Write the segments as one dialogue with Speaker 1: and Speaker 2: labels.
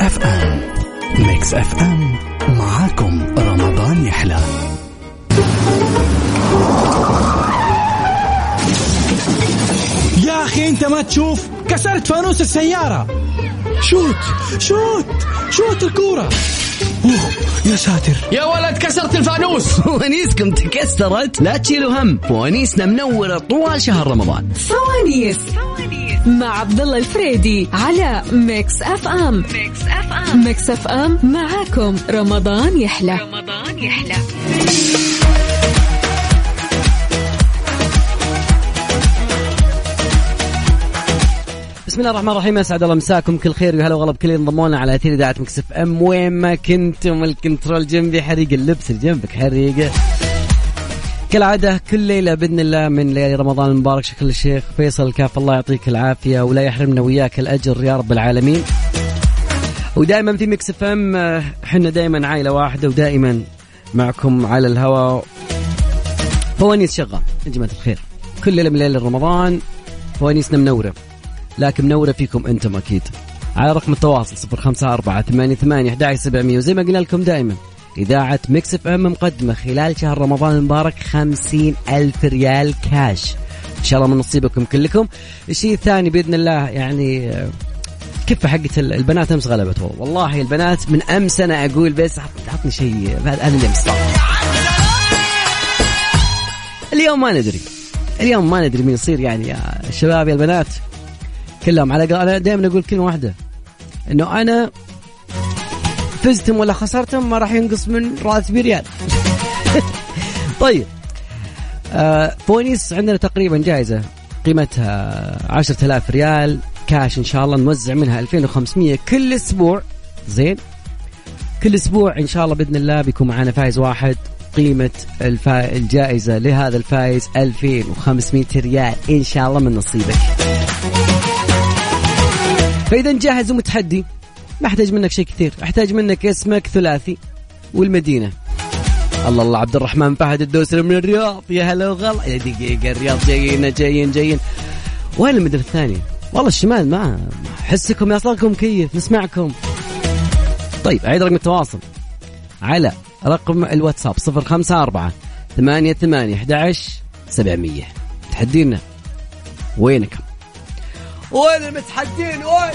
Speaker 1: اف ام ميكس اف ام معاكم رمضان يحلى
Speaker 2: يا اخي انت ما تشوف كسرت فانوس السياره شوت شوت شوت الكوره اوه يا ساتر
Speaker 3: يا ولد كسرت الفانوس
Speaker 4: فوانيسكم تكسرت لا تشيلوا هم فوانيسنا منورة طوال شهر رمضان
Speaker 5: فوانيس مع عبد الله الفريدي على ميكس اف ام ميكس اف ام ميكس اف ام معاكم رمضان يحلى رمضان يحلى
Speaker 4: بسم الله الرحمن الرحيم اسعد الله مساكم كل خير وهلا وغلا بكل اللي انضموا لنا على اثير اذاعه مكسف ام وين ما كنتم الكنترول جنبي حريق اللبس اللي جنبك حريقه كالعادة كل ليلة بإذن الله من ليالي رمضان المبارك شكل الشيخ فيصل الكاف الله يعطيك العافية ولا يحرمنا وياك الأجر يا رب العالمين ودائما في مكس اف ام احنا دائما عائلة واحدة ودائما معكم على الهواء فوانيس شغال يا جماعة الخير كل ليلة من ليالي رمضان فوانيسنا منورة لكن منورة فيكم أنتم أكيد على رقم التواصل 054 وزي ما قلنا لكم دائما إذاعة ميكس اف ام مقدمة خلال شهر رمضان المبارك خمسين ألف ريال كاش إن شاء الله من نصيبكم كلكم الشيء الثاني بإذن الله يعني آه، كفة حقت ال- البنات أمس غلبت والله والله البنات من أمس أنا أقول بس عط- عطني شيء بعد- هذا اللي أمس اليوم ما ندري اليوم ما ندري مين يصير يعني يا الشباب يا البنات كلهم على انا دائما اقول كلمه واحده انه انا فزتم ولا خسرتم ما راح ينقص من راتبي ريال طيب آه فوانيس عندنا تقريبا جائزه قيمتها 10000 ريال كاش ان شاء الله نوزع منها 2500 كل اسبوع زين كل اسبوع ان شاء الله باذن الله بيكون معنا فايز واحد قيمة الفا... الجائزة لهذا الفايز 2500 ريال ان شاء الله من نصيبك فاذا جاهز ومتحدي ما احتاج منك شيء كثير احتاج منك اسمك ثلاثي والمدينه الله الله عبد الرحمن فهد الدوسري من الرياض يا هلا وغلا يا دقيقه الرياض جايين جايين جايين وين المدن الثانيه؟ والله الشمال ما حسكم يصلكم كيف نسمعكم طيب اعيد رقم التواصل على رقم الواتساب 054 88 11 700 تحدينا وينكم؟ وين المتحدين وين؟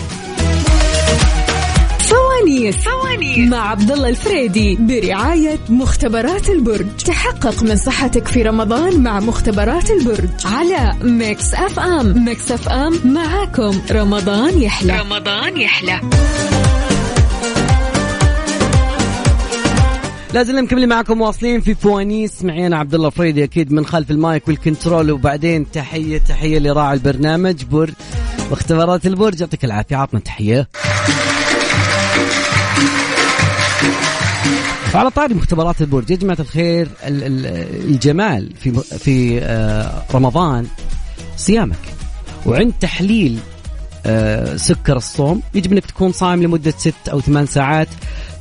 Speaker 5: فوانيس فوانيس مع عبد الله الفريدي برعاية مختبرات البرج تحقق من صحتك في رمضان مع مختبرات البرج على ميكس اف ام ميكس اف ام معاكم رمضان يحلى رمضان يحلى
Speaker 4: لازم مكملين معكم واصلين في فوانيس معي انا عبد الله فريدي اكيد من خلف المايك والكنترول وبعدين تحيه تحيه لراعي البرنامج برج واختبارات البرج يعطيك العافيه عطنا تحيه على طاري مختبرات البرج يا جماعه الخير ال- ال- الجمال في في آه، رمضان صيامك وعند تحليل آه، سكر الصوم يجب انك تكون صائم لمده ست او ثمان ساعات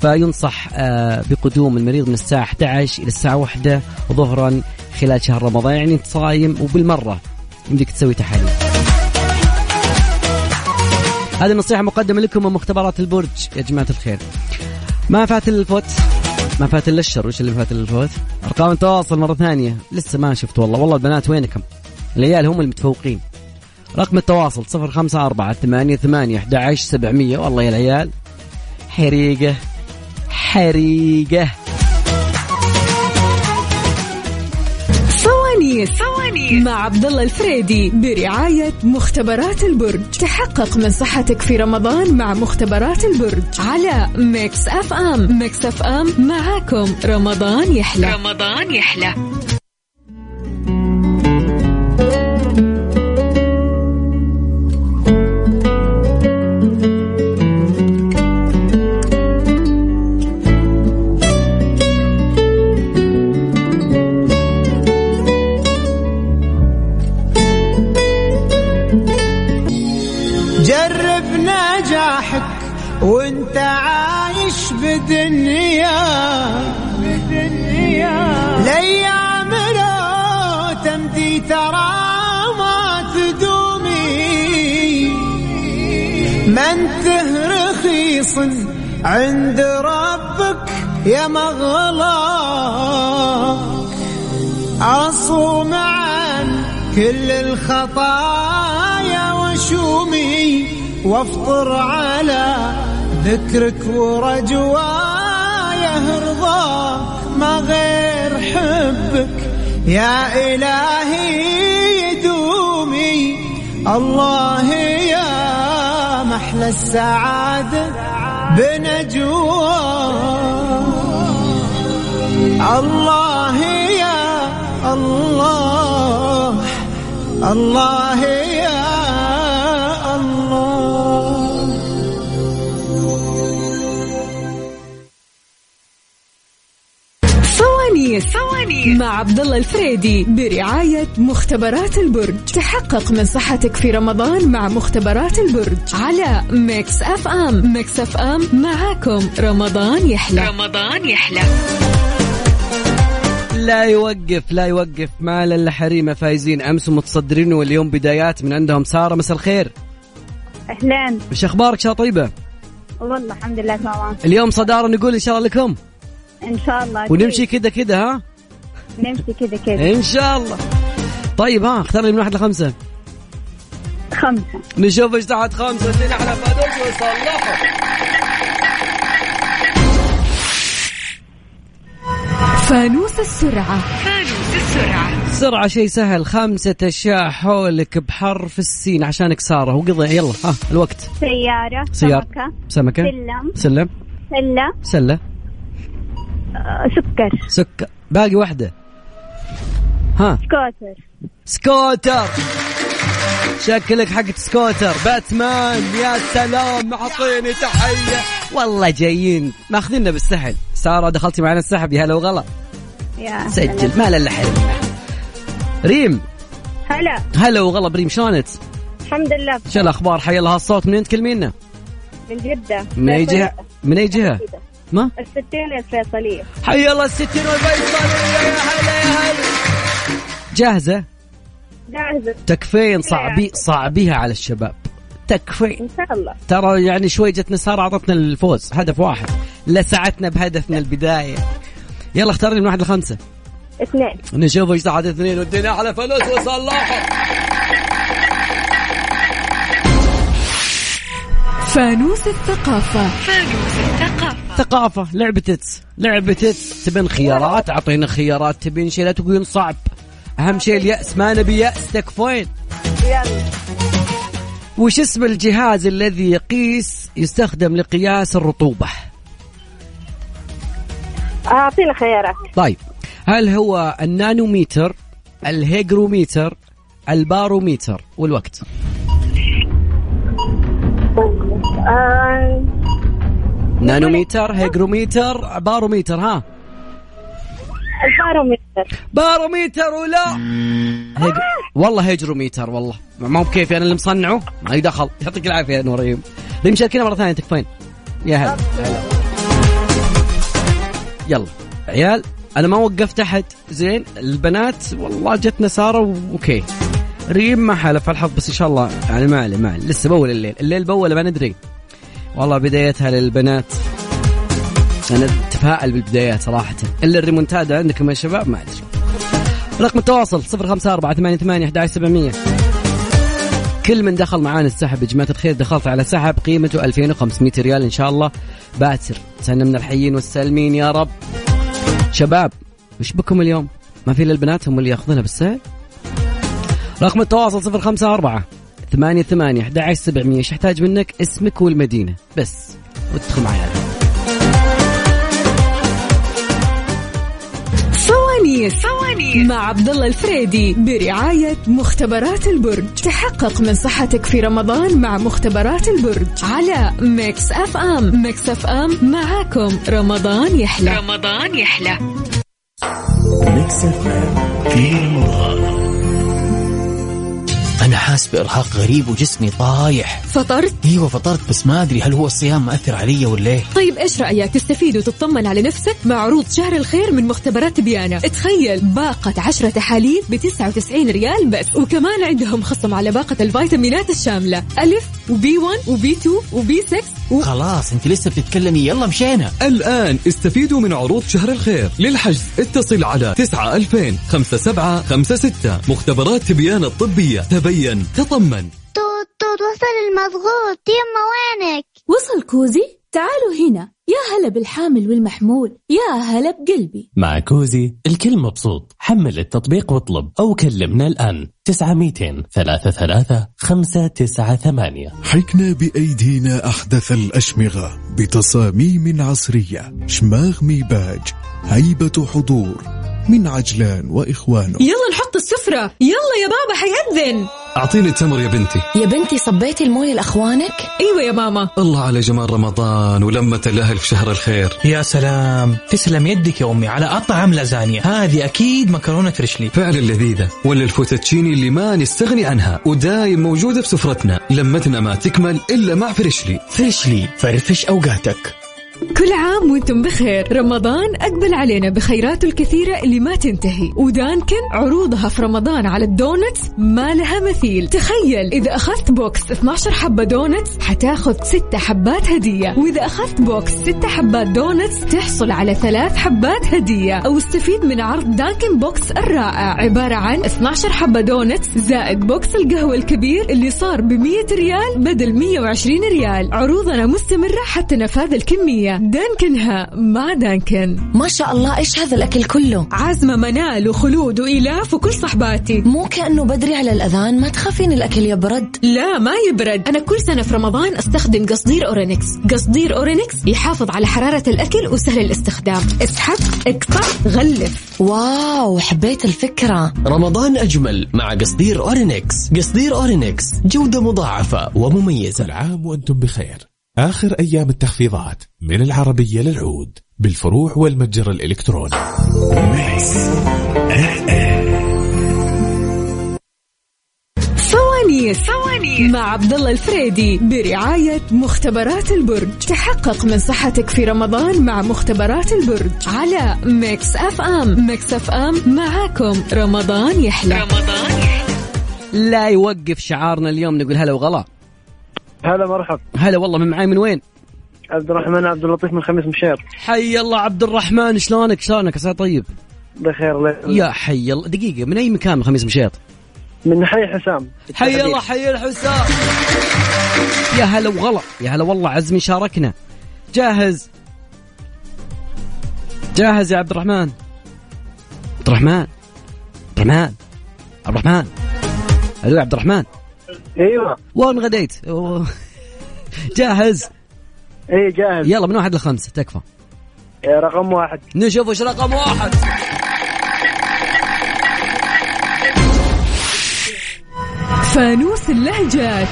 Speaker 4: فينصح آه، بقدوم المريض من الساعه 11 الى الساعه 1 ظهرا خلال شهر رمضان يعني انت صايم وبالمره يمديك تسوي تحاليل. هذه النصيحه مقدمه لكم من مختبرات البرج يا جماعه الخير. ما فات الفوت ما فات الا الشر وش اللي فات الا الفوت؟ ارقام التواصل مره ثانيه لسه ما شفت والله والله البنات وينكم؟ العيال هم المتفوقين رقم التواصل 054 88 11 700 والله يا العيال حريقة حريقة
Speaker 5: فوانيس فوانيس مع عبد الله الفريدي برعاية مختبرات البرج تحقق من صحتك في رمضان مع مختبرات البرج على ميكس اف ام ميكس اف ام معاكم رمضان يحلى رمضان يحلى
Speaker 2: جرب نجاحك وانت عايش بدنيا الايام لو تمدي ترى ما تدومي ما انت رخي
Speaker 6: رخيص عند ربك يا مغلاك أصوم عن كل الخطايا وشومي وافطر على ذكرك ورجوايا رضاك ما غير حبك يا إلهي يدومي الله يا محلى السعادة بنجوى الله يا الله الله يا الله
Speaker 5: فوانيس فوانيس مع عبد الله الفريدي برعاية مختبرات البرج تحقق من صحتك في رمضان مع مختبرات البرج على ميكس اف ام ميكس اف ام معاكم رمضان يحلى رمضان يحلى
Speaker 4: لا يوقف لا يوقف مال الا حريمه فايزين امس ومتصدرين واليوم بدايات من عندهم ساره مساء الخير
Speaker 7: اهلين
Speaker 4: ايش اخبارك يا طيبه
Speaker 7: والله الحمد لله تمام
Speaker 4: اليوم صداره نقول ان شاء الله لكم
Speaker 7: ان شاء الله
Speaker 4: ونمشي كده كده ها
Speaker 7: كيف. نمشي كذا
Speaker 6: إيه.
Speaker 7: كذا
Speaker 4: ان شاء الله طيب ها اختار لي من واحد لخمسه
Speaker 7: خمسة
Speaker 4: نشوف ايش تحت خمسه سنين على فانوس وصلحوا
Speaker 5: فانوس السرعة
Speaker 4: سرعه شيء سهل خمسه اشياء حولك بحرف السين عشانك ساره وقضى يلا ها الوقت
Speaker 7: سيارة
Speaker 4: سيارة
Speaker 7: سمكة
Speaker 4: سمكة
Speaker 7: سلم.
Speaker 4: سلم
Speaker 7: سلة
Speaker 4: سلة
Speaker 7: آه، سكر
Speaker 4: سكة باقي واحدة ها
Speaker 7: سكوتر
Speaker 4: سكوتر شكلك حق سكوتر باتمان يا سلام اعطيني تحيه والله جايين ماخذيننا بالسحل ساره دخلتي معنا السحب يا هلا وغلا
Speaker 7: يا
Speaker 4: سجل ما الا حلو ريم
Speaker 7: هلا
Speaker 4: هلا وغلا بريم شلونك؟
Speaker 7: الحمد لله
Speaker 4: شو الاخبار حي الله هالصوت منين تكلمينا؟
Speaker 7: من جدة
Speaker 4: من اي جهه؟ من اي جهه؟ ما؟
Speaker 7: الستين الفيصلية
Speaker 4: حي الله الستين والبيصليه يا هلا يا هلا جاهزه؟
Speaker 7: جاهزة
Speaker 4: تكفين صعبي صعبيها على الشباب تكفين
Speaker 7: ان شاء الله
Speaker 4: ترى يعني شوي جتنا ساره اعطتنا الفوز هدف واحد لسعتنا بهدف من البدايه يلا اختار لي من واحد لخمسه
Speaker 7: اثنين
Speaker 4: نشوف ايش ساعات اثنين ودينا على فلوس وصلاحه
Speaker 5: فانوس الثقافة
Speaker 4: ثقافه لعبه تتس لعبه تتس تبين خيارات اعطينا خيارات تبين شيء لا تكون صعب اهم شيء الياس ما نبي ياس تكفين
Speaker 7: يلا
Speaker 4: وش اسم الجهاز الذي يقيس يستخدم لقياس الرطوبه
Speaker 7: اعطينا خيارات
Speaker 4: طيب هل هو النانوميتر الهيجروميتر الباروميتر والوقت
Speaker 7: آه،
Speaker 4: نانوميتر هيجروميتر باروميتر ها
Speaker 7: البارومتر
Speaker 4: باروميتر ولا هيج... والله هيجروميتر والله ما ما هو بكيفي انا اللي مصنعه ما لي دخل يعطيك العافيه يا نور ايوب ريم شاركينا مره ثانيه تكفين يا هلا هلا يلا عيال انا ما وقفت احد زين البنات والله جتنا ساره و- اوكي ريم ما حلف الحظ بس ان شاء الله يعني ما عليه ما عليه لسه بول الليل الليل بول ما ندري والله بدايتها للبنات انا اتفائل بالبدايات صراحه الا الريمونتادا عندكم يا شباب ما ادري رقم التواصل 0548811700 كل من دخل معانا السحب يا جماعه الخير دخلت على سحب قيمته 2500 ريال ان شاء الله باسر سنة من الحيين والسالمين يا رب شباب وش بكم اليوم؟ ما في الا البنات هم اللي ياخذونها بالسهل؟ رقم التواصل 054 88 11700 ايش احتاج منك؟ اسمك والمدينه بس وادخل معي على
Speaker 5: فوانيس فوانيس مع عبد الله الفريدي برعاية مختبرات البرج تحقق من صحتك في رمضان مع مختبرات البرج على ميكس اف ام ميكس اف ام معاكم رمضان يحلى رمضان يحلى
Speaker 1: ميكس اف ام في رمضان
Speaker 3: انا حاسس بارهاق غريب وجسمي طايح
Speaker 5: فطرت
Speaker 3: ايوه فطرت بس ما ادري هل هو الصيام مأثر علي ولا ايه
Speaker 5: طيب ايش رايك تستفيد وتطمن على نفسك مع عروض شهر الخير من مختبرات بيانا تخيل باقه 10 تحاليل ب 99 ريال بس وكمان عندهم خصم على باقه الفيتامينات الشامله الف وبي 1 وبي 2 وبي 6 و-
Speaker 3: خلاص انت لسه بتتكلمي يلا مشينا
Speaker 8: الآن استفيدوا من عروض شهر الخير للحجز اتصل على 9000 5756 مختبرات تبيان الطبية تبين تطمن
Speaker 9: توت توت وصل المضغوط يما وينك
Speaker 10: وصل كوزي تعالوا هنا يا هلا بالحامل والمحمول يا هلا بقلبي
Speaker 11: مع كوزي الكل مبسوط حمل التطبيق واطلب أو كلمنا الآن 900 33 598
Speaker 12: حكنا بأيدينا أحدث الأشمغة بتصاميم عصرية شماغ ميباج هيبة حضور من عجلان وإخوانه
Speaker 5: يلا نحط السفرة يلا يا بابا حيأذن
Speaker 8: أعطيني التمر يا بنتي
Speaker 13: يا بنتي صبيتي المويه لاخوانك
Speaker 5: ايوه يا ماما
Speaker 8: الله على جمال رمضان ولمة الأهل في شهر الخير
Speaker 14: يا سلام تسلم يدك يا امي على اطعم لازانيا هذه اكيد مكرونه فريشلي
Speaker 8: فعلا لذيذة ولا الفوتتشيني اللي ما نستغني عنها ودايم موجودة في سفرتنا لمتنا ما تكمل إلا مع فريشلي
Speaker 11: فريشلي فرفش أوقاتك
Speaker 5: كل عام وانتم بخير رمضان أقبل علينا بخيراته الكثيرة اللي ما تنتهي ودانكن عروضها في رمضان على الدونتس ما لها مثيل تخيل إذا أخذت بوكس 12 حبة دونتس حتاخذ 6 حبات هدية وإذا أخذت بوكس 6 حبات دونتس تحصل على 3 حبات هدية أو استفيد من عرض دانكن بوكس الرائع عبارة عن 12 حبة دونتس زائد بوكس القهوة الكبير اللي صار ب 100 ريال بدل 120 ريال عروضنا مستمرة حتى نفاذ الكمية دانكنها مع دانكن
Speaker 13: ما شاء الله ايش هذا الاكل كله
Speaker 5: عزمة منال وخلود وإلاف وكل صحباتي
Speaker 13: مو كانه بدري على الاذان ما تخافين الاكل يبرد
Speaker 5: لا ما يبرد أنا كل سنة في رمضان أستخدم قصدير أورينكس قصدير أورينكس يحافظ على حرارة الأكل وسهل الاستخدام اسحب اقطع غلف
Speaker 13: واو حبيت الفكره
Speaker 11: رمضان أجمل مع قصدير أورينكس قصدير أورينكس جودة مضاعفة ومميزة
Speaker 15: العام وأنتم بخير آخر أيام التخفيضات من العربية للعود بالفروع والمتجر الإلكتروني
Speaker 5: فوانيس فوانيس مع عبد الله الفريدي برعاية مختبرات البرج تحقق من صحتك في رمضان مع مختبرات البرج على ميكس اف ام ميكس اف ام معاكم رمضان يحلى رمضان
Speaker 4: لا يوقف شعارنا اليوم نقول هلا وغلا
Speaker 16: هلا مرحب
Speaker 4: هلا والله من معاي من وين
Speaker 16: عبد الرحمن عبد اللطيف من خميس مشير
Speaker 4: حي الله عبد الرحمن شلونك شلونك عسى طيب
Speaker 16: بخير الله يسلمك.
Speaker 4: يا حي الله دقيقه من اي مكان من خميس مشيط
Speaker 16: من حي حسام
Speaker 4: حي الله حي الحسام يا هلا وغلا يا هلا والله عزمي شاركنا جاهز جاهز يا عبد الرحمن عبد الرحمن عبد الرحمن عبد الرحمن الو يا عبد الرحمن
Speaker 16: ايوه
Speaker 4: وين غديت أوه. جاهز
Speaker 16: اي جاهز
Speaker 4: يلا من واحد لخمسة تكفى
Speaker 16: يا رقم واحد
Speaker 4: نشوف وش رقم واحد
Speaker 5: فانوس اللهجات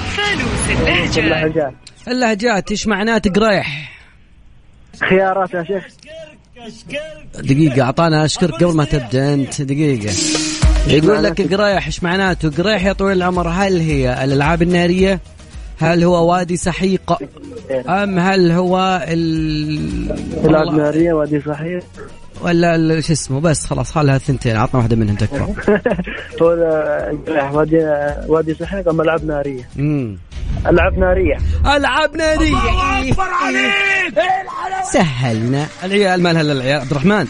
Speaker 16: اللهجات
Speaker 4: اللهجات ايش معناته قريح
Speaker 16: خيارات يا شيخ
Speaker 4: دقيقة أعطانا أشكرك قبل ما تبدأ أنت دقيقة يقول لك قريح ايش معناته قريح يا طويل العمر هل هي الألعاب النارية هل هو وادي سحيقة أم هل هو ال
Speaker 16: بلاد ناريه وادي صحيح
Speaker 4: ولا ال- شو اسمه بس خلاص خلها الثنتين عطنا واحدة منهم تكفى
Speaker 16: هو الجرح وادي وادي صحيح اما العاب ناريه
Speaker 4: مم.
Speaker 16: العاب ناريه
Speaker 4: ألعاب نارية الله أكبر عليك إيه سهلنا العيال ما لها إلا العيال عبد الرحمن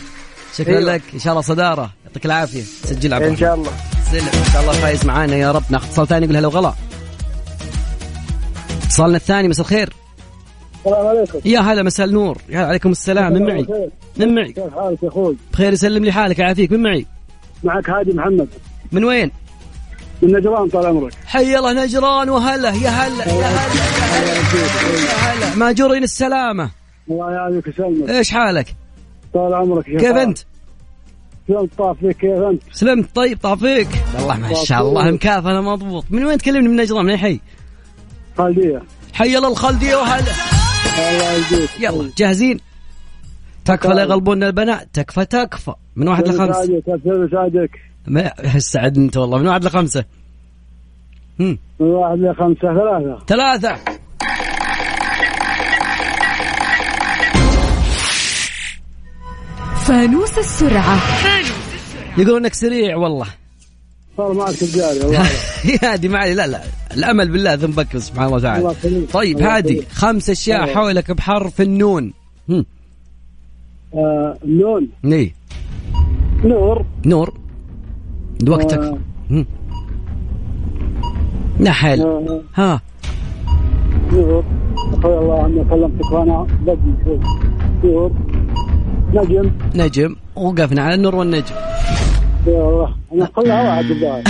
Speaker 4: شكرا
Speaker 16: أيوة.
Speaker 4: لك إن شاء الله صدارة يعطيك العافية سجل عبد
Speaker 16: ان
Speaker 4: الرحمن
Speaker 16: شاء الله
Speaker 4: سلم ان شاء الله فايز معانا يا رب ناخذ اتصال ثاني يقول هلا وغلا اتصالنا الثاني مساء الخير
Speaker 16: السلام عليكم
Speaker 4: يا هلا مساء النور يا هلا عليكم السلام من معي من معي
Speaker 16: كيف حالك يا اخوي
Speaker 4: بخير يسلم لي حالك يعافيك من معي
Speaker 16: معك هادي محمد
Speaker 4: من وين
Speaker 16: من نجران طال عمرك
Speaker 4: حي الله نجران وهلا يا هلا يا هلا يا هلا ماجورين السلامة
Speaker 16: الله يعافيك ويسلمك
Speaker 4: ايش حالك
Speaker 16: طال عمرك يا
Speaker 4: كيف انت
Speaker 16: شلون طاف فيك كيف انت
Speaker 4: سلمت طيب طافيك والله ما شاء الله مكافأة مضبوط من وين تكلمني من نجران من أي حي
Speaker 16: خالديه
Speaker 4: حي الله الخلدية وهلا
Speaker 16: الله يجزيك
Speaker 4: يلا جاهزين تكفى لا يغلبون البنات تكفى تكفى من واحد لخمسة
Speaker 16: تبشر سعدك
Speaker 4: ما سعد انت والله من واحد لخمسة هم.
Speaker 16: من واحد لخمسة ثلاثة
Speaker 4: ثلاثة
Speaker 5: فانوس السرعة
Speaker 4: يقولون انك سريع والله
Speaker 16: صار معك الجاري الله
Speaker 4: يا دي معي لا لا الامل بالله ذنبك سبحان الله
Speaker 16: الله
Speaker 4: تعالى
Speaker 16: يخليك.
Speaker 4: طيب
Speaker 16: الله
Speaker 4: هادي
Speaker 16: يخليك.
Speaker 4: خمس اشياء
Speaker 16: أيوة.
Speaker 4: حولك بحرف النون هم.
Speaker 16: آه نون
Speaker 4: ني
Speaker 16: نور
Speaker 4: نور وقتك
Speaker 16: آه.
Speaker 4: هم. نحل
Speaker 16: آه
Speaker 4: ها
Speaker 16: نور أقول الله أني كلمتك وأنا بدي شوي نور نجم
Speaker 4: نجم وقفنا على النور والنجم
Speaker 16: يا الله أنا كلها واحد بالله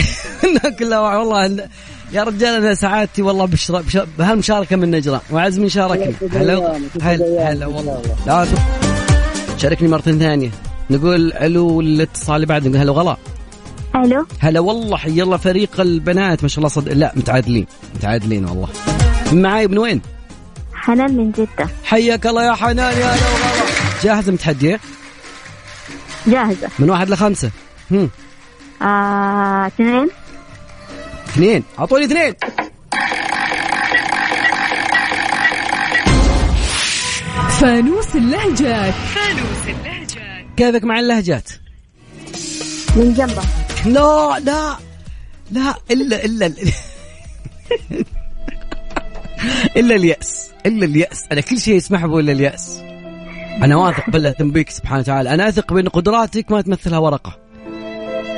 Speaker 4: إنها كلها واحد. والله إن- يا رجال انا سعادتي والله بشر... بشر... بهالمشاركه من نجران وعزمي شاركني
Speaker 16: يسعد
Speaker 4: هلا
Speaker 16: أيامك، يسعد
Speaker 4: هلا
Speaker 16: أيامك
Speaker 4: هلا
Speaker 16: إن شاء
Speaker 4: والله
Speaker 16: الله.
Speaker 4: لا ت- شاركني مره ثانيه نقول الو الاتصال اللي بعد نقول هلا وغلا
Speaker 9: الو
Speaker 4: هلا والله حي الله فريق البنات ما شاء الله صد... لا متعادلين متعادلين والله معاي من وين؟
Speaker 9: حنان من جدة
Speaker 4: حياك الله يا حنان يا هلا وغلا جاهز المتحدي
Speaker 9: جاهزة
Speaker 4: من واحد لخمسه هم.
Speaker 9: آه، اثنين
Speaker 4: اثنين اعطوني اثنين
Speaker 5: فانوس اللهجات
Speaker 4: كيفك مع اللهجات؟
Speaker 9: من جنبه
Speaker 4: لا لا لا الا الا الا الياس الا الياس انا كل شيء اسمح به الا الياس انا واثق بالله تنبيك سبحانه وتعالى انا اثق بان قدراتك ما تمثلها ورقه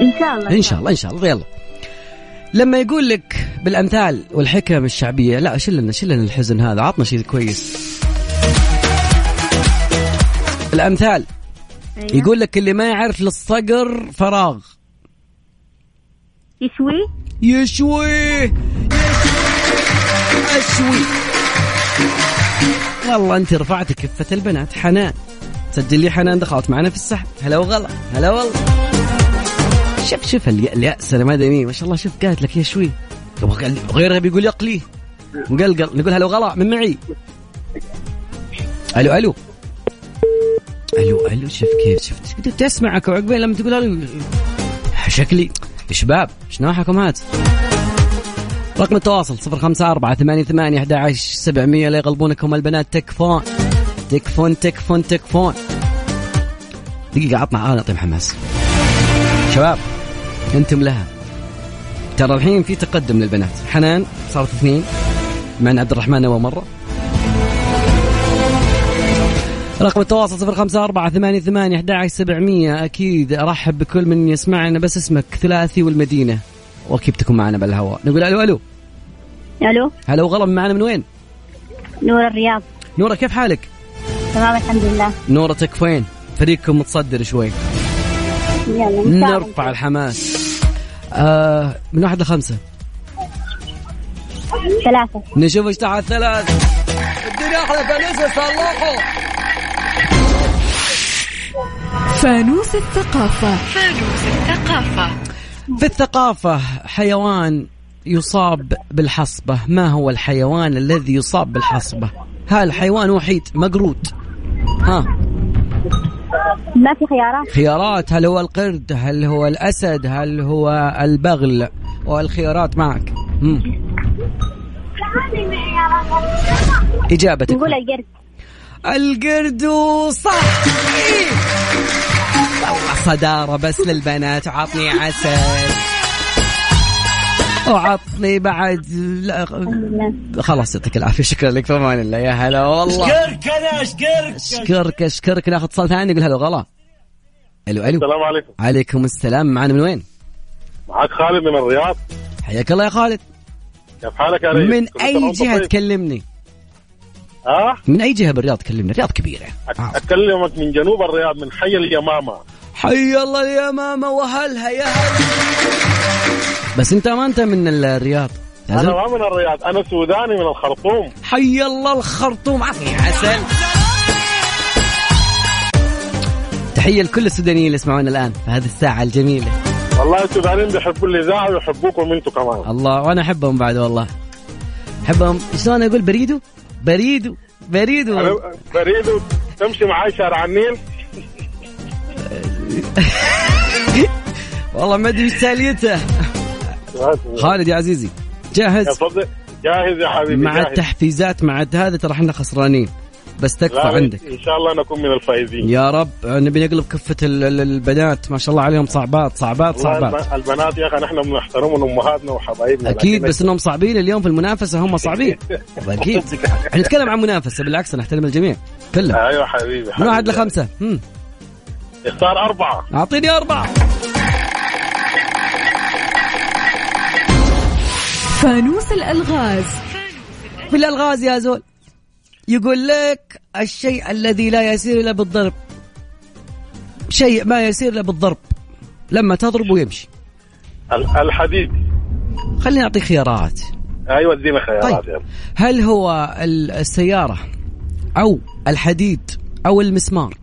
Speaker 9: ان شاء الله
Speaker 4: ان شاء الله ان شاء الله يلا لما يقول لك بالامثال والحكم الشعبيه لا شيل لنا شيل لنا الحزن هذا عطنا شيء كويس الامثال
Speaker 9: أيوة.
Speaker 4: يقول لك اللي ما يعرف للصقر فراغ
Speaker 9: يشوي
Speaker 4: يشويه يشويه اشوي والله انت رفعت كفه البنات حنان سجل لي حنان دخلت معنا في السحب هلا وغلا هلا والله شوف شوف الي- الياس انا ما ادري مين. ما شاء الله شوف قالت لك يشوي غيرها بيقول يقلي مقلقل نقول هلا وغلا من معي الو الو الو الو شوف كيف شفت تسمعك وعقبين لما تقول الو شكلي شباب شناحكم هات رقم التواصل 054 88 11 700 لا يغلبونكم البنات تكفون تكفون تكفون تكفون دقيقة عطنا عطنا طيب حماس شباب انتم لها ترى الحين في تقدم للبنات حنان صارت اثنين من عبد الرحمن اول مرة رقم التواصل 054 88 11 700 اكيد ارحب بكل من يسمعنا بس اسمك ثلاثي والمدينه واكيد تكون معنا بالهواء نقول الو الو
Speaker 9: الو
Speaker 4: هلا وغلا معنا من وين؟
Speaker 9: نور الرياض
Speaker 4: نورة كيف حالك؟
Speaker 9: تمام الحمد لله
Speaker 4: نورة تكفين فريقكم متصدر شوي
Speaker 9: يلا إن شاء الله.
Speaker 4: نرفع الحماس آه من واحد لخمسه
Speaker 9: ثلاثة
Speaker 4: نشوف ايش تحت ثلاث الدنيا احلى فانوس صلحوا
Speaker 5: فانوس الثقافة
Speaker 4: في الثقافة حيوان يصاب بالحصبة ما هو الحيوان الذي يصاب بالحصبة هل حيوان وحيد مقروط ها
Speaker 9: ما في خيارات
Speaker 4: خيارات هل هو القرد هل هو الأسد هل هو البغل والخيارات معك مم. إجابتك
Speaker 9: نقول القرد
Speaker 4: القرد صح إيه. والله صدارة بس للبنات عطني عسل وعطني بعد لا خلاص يعطيك العافيه شكرا لك في امان الله يا هلا والله
Speaker 17: اشكرك انا اشكرك
Speaker 4: اشكرك اشكرك ناخذ اتصال ثاني نقول هلا غلا الو الو
Speaker 18: السلام عليكم
Speaker 4: عليكم السلام معنا من وين؟
Speaker 18: معك خالد من الرياض
Speaker 4: حياك الله يا خالد
Speaker 18: كيف حالك يا ريس
Speaker 4: من
Speaker 18: كنت
Speaker 4: اي
Speaker 18: تمام
Speaker 4: جهه
Speaker 18: طيب؟
Speaker 4: تكلمني؟
Speaker 18: ها
Speaker 4: من اي جهه بالرياض تكلمني؟ آه. الرياض كبيره
Speaker 18: اكلمك من جنوب الرياض من حي اليمامه
Speaker 4: حي الله يا ماما وهلها يا هلا بس انت ما انت من الرياض
Speaker 18: انا
Speaker 4: نعم.
Speaker 18: ما من الرياض انا سوداني من الخرطوم
Speaker 4: حي الله الخرطوم عطني عسل تحية لكل السودانيين اللي يسمعونا الآن في هذه الساعة الجميلة
Speaker 18: والله السودانيين بيحبوا الاذاعه ويحبوكم انتم كمان
Speaker 4: الله وأنا أحبهم بعد والله أحبهم شلون أقول بريدو بريدو بريدو
Speaker 18: أنا بريد تمشي معي شارع النيل
Speaker 4: والله ما أدري إيش تاليته خالد يا عزيزي
Speaker 18: يا
Speaker 4: جاهز
Speaker 18: فضل جاهز يا حبيبي
Speaker 4: مع
Speaker 18: جاهز.
Speaker 4: التحفيزات مع هذا ترى احنا خسرانين بس تكفى
Speaker 18: لا،
Speaker 4: عندك
Speaker 18: ان شاء الله انا اكون من الفائزين
Speaker 4: يا رب نبي نقلب كفة ال- ال- البنات ما شاء الله عليهم صعبات صعبات
Speaker 18: والله
Speaker 4: صعبات
Speaker 18: الب- البنات يا اخي نحن بنحترمهم امهاتنا وحبايبنا
Speaker 4: اكيد
Speaker 18: لكن-
Speaker 4: بس انهم صعبين اليوم في المنافسه هم صعبين اكيد احنا نتكلم عن منافسه بالعكس انا احترم الجميع كلهم
Speaker 18: ايوه حبيبي
Speaker 4: من
Speaker 18: حبيبي.
Speaker 4: واحد لخمسه هم.
Speaker 18: اختار اربعه
Speaker 4: اعطيني اربعه
Speaker 5: فانوس الألغاز
Speaker 4: في الالغاز يا زول يقول لك الشيء الذي لا يسير الا بالضرب شيء ما يسير الا بالضرب لما تضربه يمشي
Speaker 18: ال- الحديد
Speaker 4: خليني اعطيك خيارات
Speaker 18: ايوه ادينا خيارات طيب.
Speaker 4: هل هو ال- السياره او الحديد او المسمار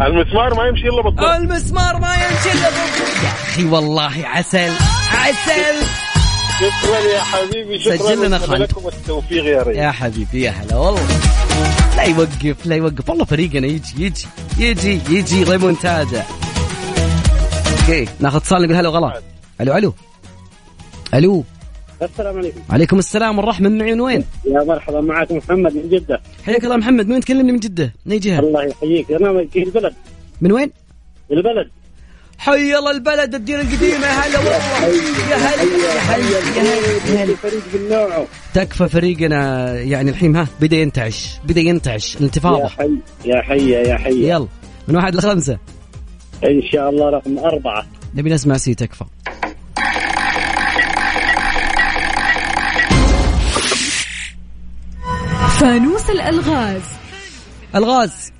Speaker 18: المسمار ما يمشي الا بالضبط
Speaker 4: المسمار ما يمشي الا بالضبط اخي والله عسل عسل
Speaker 18: شكرا يا حبيبي شكرا
Speaker 4: سجل لنا
Speaker 18: وأتمنى
Speaker 4: خالد.
Speaker 18: لكم التوفيق يا ريت
Speaker 4: يا حبيبي يا هلا والله لا يوقف لا يوقف والله فريقنا يجي يجي يجي يجي ريمونتادا اوكي ناخذ اتصال نقول هلا وغلا الو الو الو
Speaker 17: السلام عليكم
Speaker 4: عليكم السلام والرحمه من معي من وين؟
Speaker 17: يا مرحبا معك محمد من جدة
Speaker 4: حياك الله محمد من وين تكلمني من جده؟ من اي جهه؟
Speaker 17: الله يحييك أنا من البلد
Speaker 4: من وين؟
Speaker 17: البلد
Speaker 4: حي الله البلد الديره القديمه يا هلا والله يا هلا يا هلا يا هلا يا هلا
Speaker 17: فريق من نوعه
Speaker 4: تكفى فريقنا يعني الحين ها بدا ينتعش بدا ينتعش
Speaker 17: يا
Speaker 4: الانتفاضه
Speaker 17: حي يا حي يا حي
Speaker 4: يلا من واحد لخمسه
Speaker 17: إن شاء الله رقم أربعة
Speaker 4: نبي نسمع سي تكفى
Speaker 5: فانوس الألغاز
Speaker 4: الغاز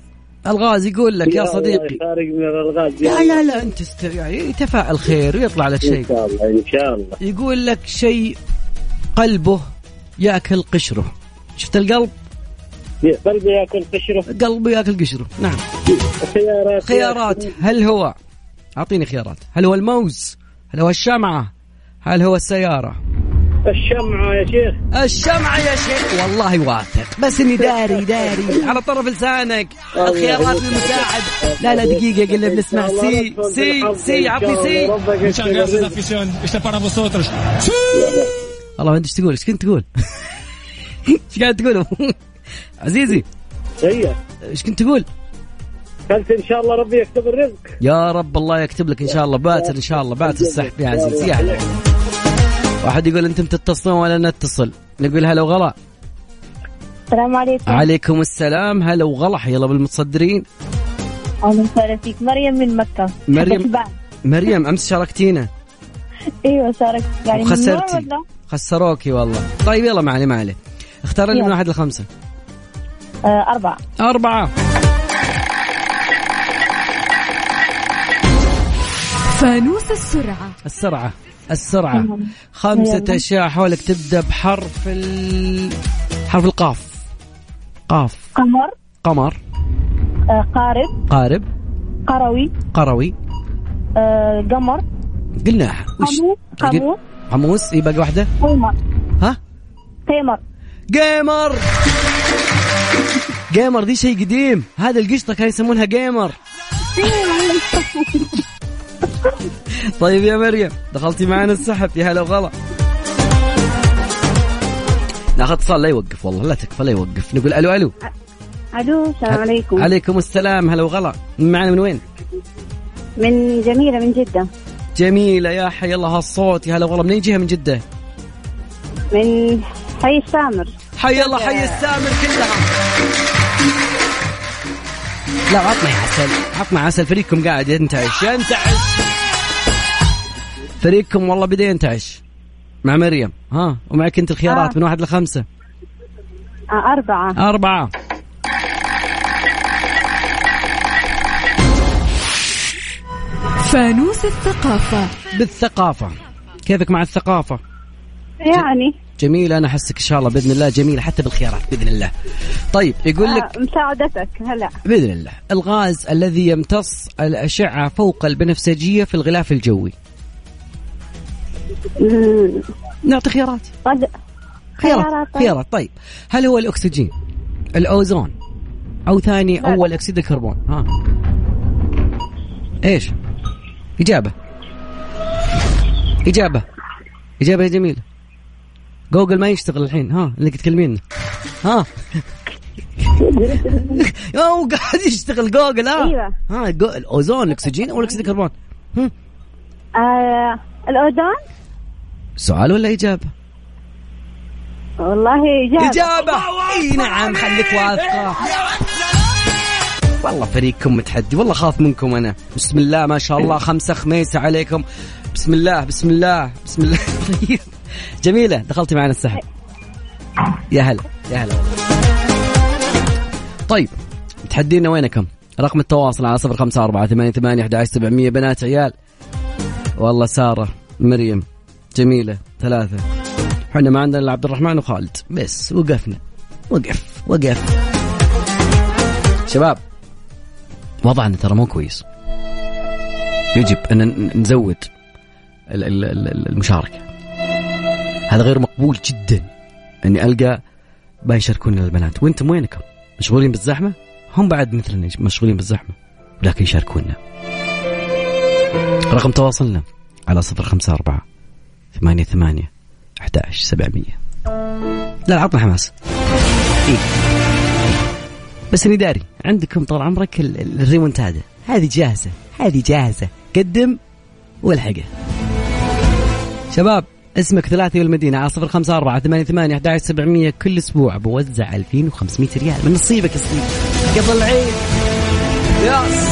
Speaker 4: الغاز يقول لك يا صديقي
Speaker 17: خارج من الغاز
Speaker 4: لا لا لا انت است... يعني يتفائل خير ويطلع لك
Speaker 17: إن
Speaker 4: شيء
Speaker 17: شاء الله إن شاء الله
Speaker 4: يقول لك شيء قلبه ياكل قشره شفت القلب
Speaker 17: قلبي ياكل قشره
Speaker 4: قلبه ياكل قشره نعم
Speaker 17: خيارات
Speaker 4: خيارات هل هو اعطيني خيارات هل هو الموز هل هو الشمعه هل هو السياره
Speaker 17: الشمعة يا شيخ
Speaker 4: الشمعة يا شيخ والله واثق بس اني داري داري على طرف لسانك الخيارات للمساعد لا لا دقيقة قلنا بنسمع سي سي سي عطني سي والله ما ادري ايش تقول ايش كنت تقول؟ ايش قاعد تقول عزيزي
Speaker 17: هي
Speaker 4: ايش كنت تقول؟
Speaker 17: قلت إن شاء الله ربي يكتب الرزق
Speaker 4: يا رب الله يكتب لك ان شاء الله باتر ان شاء الله باتر السحب يا عزيزي يا هلا واحد يقول انتم تتصلون ولا نتصل نقول هلا وغلا
Speaker 7: السلام عليكم
Speaker 4: عليكم السلام هلا وغلا يلا بالمتصدرين
Speaker 7: اهلا وسهلا فيك مريم من مكة
Speaker 4: مريم.
Speaker 7: حبتبان.
Speaker 4: مريم امس شاركتينا
Speaker 9: أيوة،
Speaker 7: ايوه شاركت يعني من نوع
Speaker 4: وخسرتي
Speaker 7: ولا؟
Speaker 4: خسروكي والله طيب يلا ما عليه ما عليه اختار لي من واحد لخمسة
Speaker 7: آه، أربعة
Speaker 4: أربعة
Speaker 5: فانوس السرعة
Speaker 4: السرعة السرعة خمسة أشياء حولك تبدأ بحرف ال... حرف القاف قاف
Speaker 7: قمر
Speaker 4: قمر
Speaker 7: آه، قارب
Speaker 4: قارب
Speaker 7: قروي
Speaker 4: قروي
Speaker 7: آه، قمر
Speaker 4: قلناها وش
Speaker 7: قمو قمو
Speaker 4: قاموس إيه باقي واحدة
Speaker 7: قمر
Speaker 4: ها
Speaker 7: قمر
Speaker 4: جيمر جيمر دي شيء قديم هذا القشطة كانوا يسمونها جيمر طيب يا مريم دخلتي معنا السحب يا هلا وغلا ناخذ اتصال لا يوقف والله لا تكفى لا يوقف نقول الو الو
Speaker 7: الو السلام عليكم
Speaker 4: عليكم السلام هلا وغلا معنا من وين؟
Speaker 7: من جميلة من جدة
Speaker 4: جميلة يا حي الله هالصوت يا هلا والله من اي جهة من جدة؟
Speaker 7: من حي السامر
Speaker 4: حي الله حي السامر كلها لا عطنا عسل عطنا عسل فريقكم قاعد ينتعش ينتعش فريقكم والله بدا ينتعش مع مريم ها ومعك انت الخيارات
Speaker 7: آه.
Speaker 4: من واحد لخمسة
Speaker 7: آه، أربعة
Speaker 4: أربعة
Speaker 5: فانوس الثقافة
Speaker 4: بالثقافة كيفك مع الثقافة
Speaker 7: يعني
Speaker 4: جميلة أنا أحسك إن شاء الله بإذن الله جميلة حتى بالخيارات بإذن الله طيب يقول لك
Speaker 7: آه، مساعدتك هلا
Speaker 4: بإذن الله الغاز الذي يمتص الأشعة فوق البنفسجية في الغلاف الجوي نعطي خيارات خيارات خيارات طيب هل هو الاكسجين الاوزون او ثاني اول اكسيد الكربون ها ايش اجابه اجابه اجابه يا جميل جوجل ما يشتغل الحين ها اللي تكلمين ها هو قاعد يشتغل جوجل اه
Speaker 7: أيوة.
Speaker 4: ها جو- الاوزون الاكسجين او الأكسيد الكربون
Speaker 7: آه الأوزون
Speaker 4: سؤال ولا اجابه؟
Speaker 7: والله إجابة
Speaker 4: إجابة اي نعم خليك واثقة والله فريقكم متحدي والله خاف منكم انا بسم الله ما شاء الله خمسة خميسة عليكم بسم الله بسم الله بسم الله طيب جميلة دخلتي معنا السحب يا هلا يا هلا طيب متحدينا وينكم رقم التواصل على صفر خمسة أربعة ثمانية ثمانية أحد سبعمية بنات عيال والله سارة مريم جميلة ثلاثة احنا ما عندنا إلا عبد الرحمن وخالد بس وقفنا وقف وقف شباب وضعنا ترى مو كويس يجب أن ن- نزود ال- ال- ال- المشاركة هذا غير مقبول جدا اني القى ما يشاركون البنات وانتم وينكم؟ مشغولين بالزحمه؟ هم بعد مثلنا مشغولين بالزحمه ولكن يشاركونا. رقم تواصلنا على 054 88 11 700 لا عطنا حماس. إيه؟ بس اني داري عندكم طال عمرك ال- ال- الريمونتادا هذه جاهزه هذه جاهزه قدم والحقه. شباب اسمك ثلاثي والمدينة على صفر خمسة أربعة ثمانية ثمانية أحد سبعمية كل أسبوع بوزع ألفين وخمسمية ريال من نصيبك يا صديقي قبل العيد ياس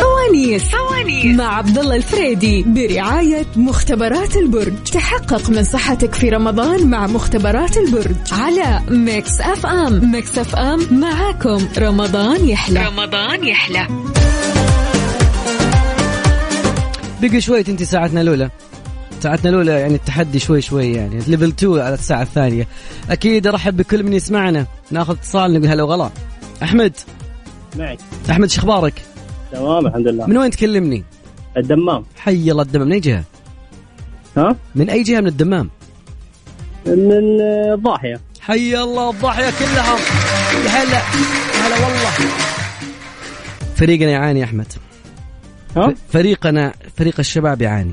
Speaker 5: فوانيس فوانيس مع عبد الله الفريدي برعاية مختبرات البرج تحقق من صحتك في رمضان مع مختبرات البرج على ميكس اف ام ميكس اف ام معاكم رمضان يحلى رمضان يحلى
Speaker 4: بقي شوي تنتهي ساعتنا الأولى ساعتنا الأولى يعني التحدي شوي شوي يعني ليفل 2 على الساعة الثانية أكيد أرحب بكل من يسمعنا ناخذ اتصال نقول هلا وغلا أحمد
Speaker 17: معك
Speaker 4: أحمد شخبارك
Speaker 17: تمام الحمد لله
Speaker 4: من وين تكلمني؟
Speaker 17: الدمام
Speaker 4: حي الله الدمام من أي جهة؟
Speaker 17: ها؟
Speaker 4: من أي جهة من الدمام؟
Speaker 17: من آه، الضاحيه
Speaker 4: حي الله الضاحيه كلها يا هلا يا هلا والله فريقنا يعاني يا احمد
Speaker 17: ها؟
Speaker 4: فريقنا فريق الشباب يعاني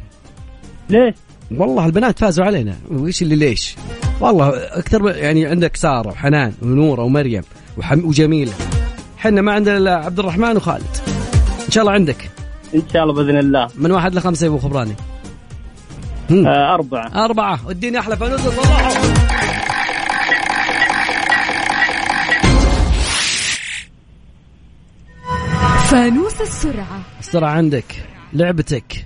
Speaker 17: ليش؟
Speaker 4: والله البنات فازوا علينا وايش اللي ليش؟ والله اكثر يعني عندك ساره وحنان ونوره ومريم وحم وجميله حنا ما عندنا الا عبد الرحمن وخالد ان شاء الله عندك
Speaker 17: ان شاء الله باذن الله
Speaker 4: من واحد لخمسه يا ابو خبراني
Speaker 17: آه، اربعه
Speaker 4: أربعة اديني أحلى فانوس صباحه
Speaker 5: فانوس السرعة
Speaker 4: السرعة عندك لعبتك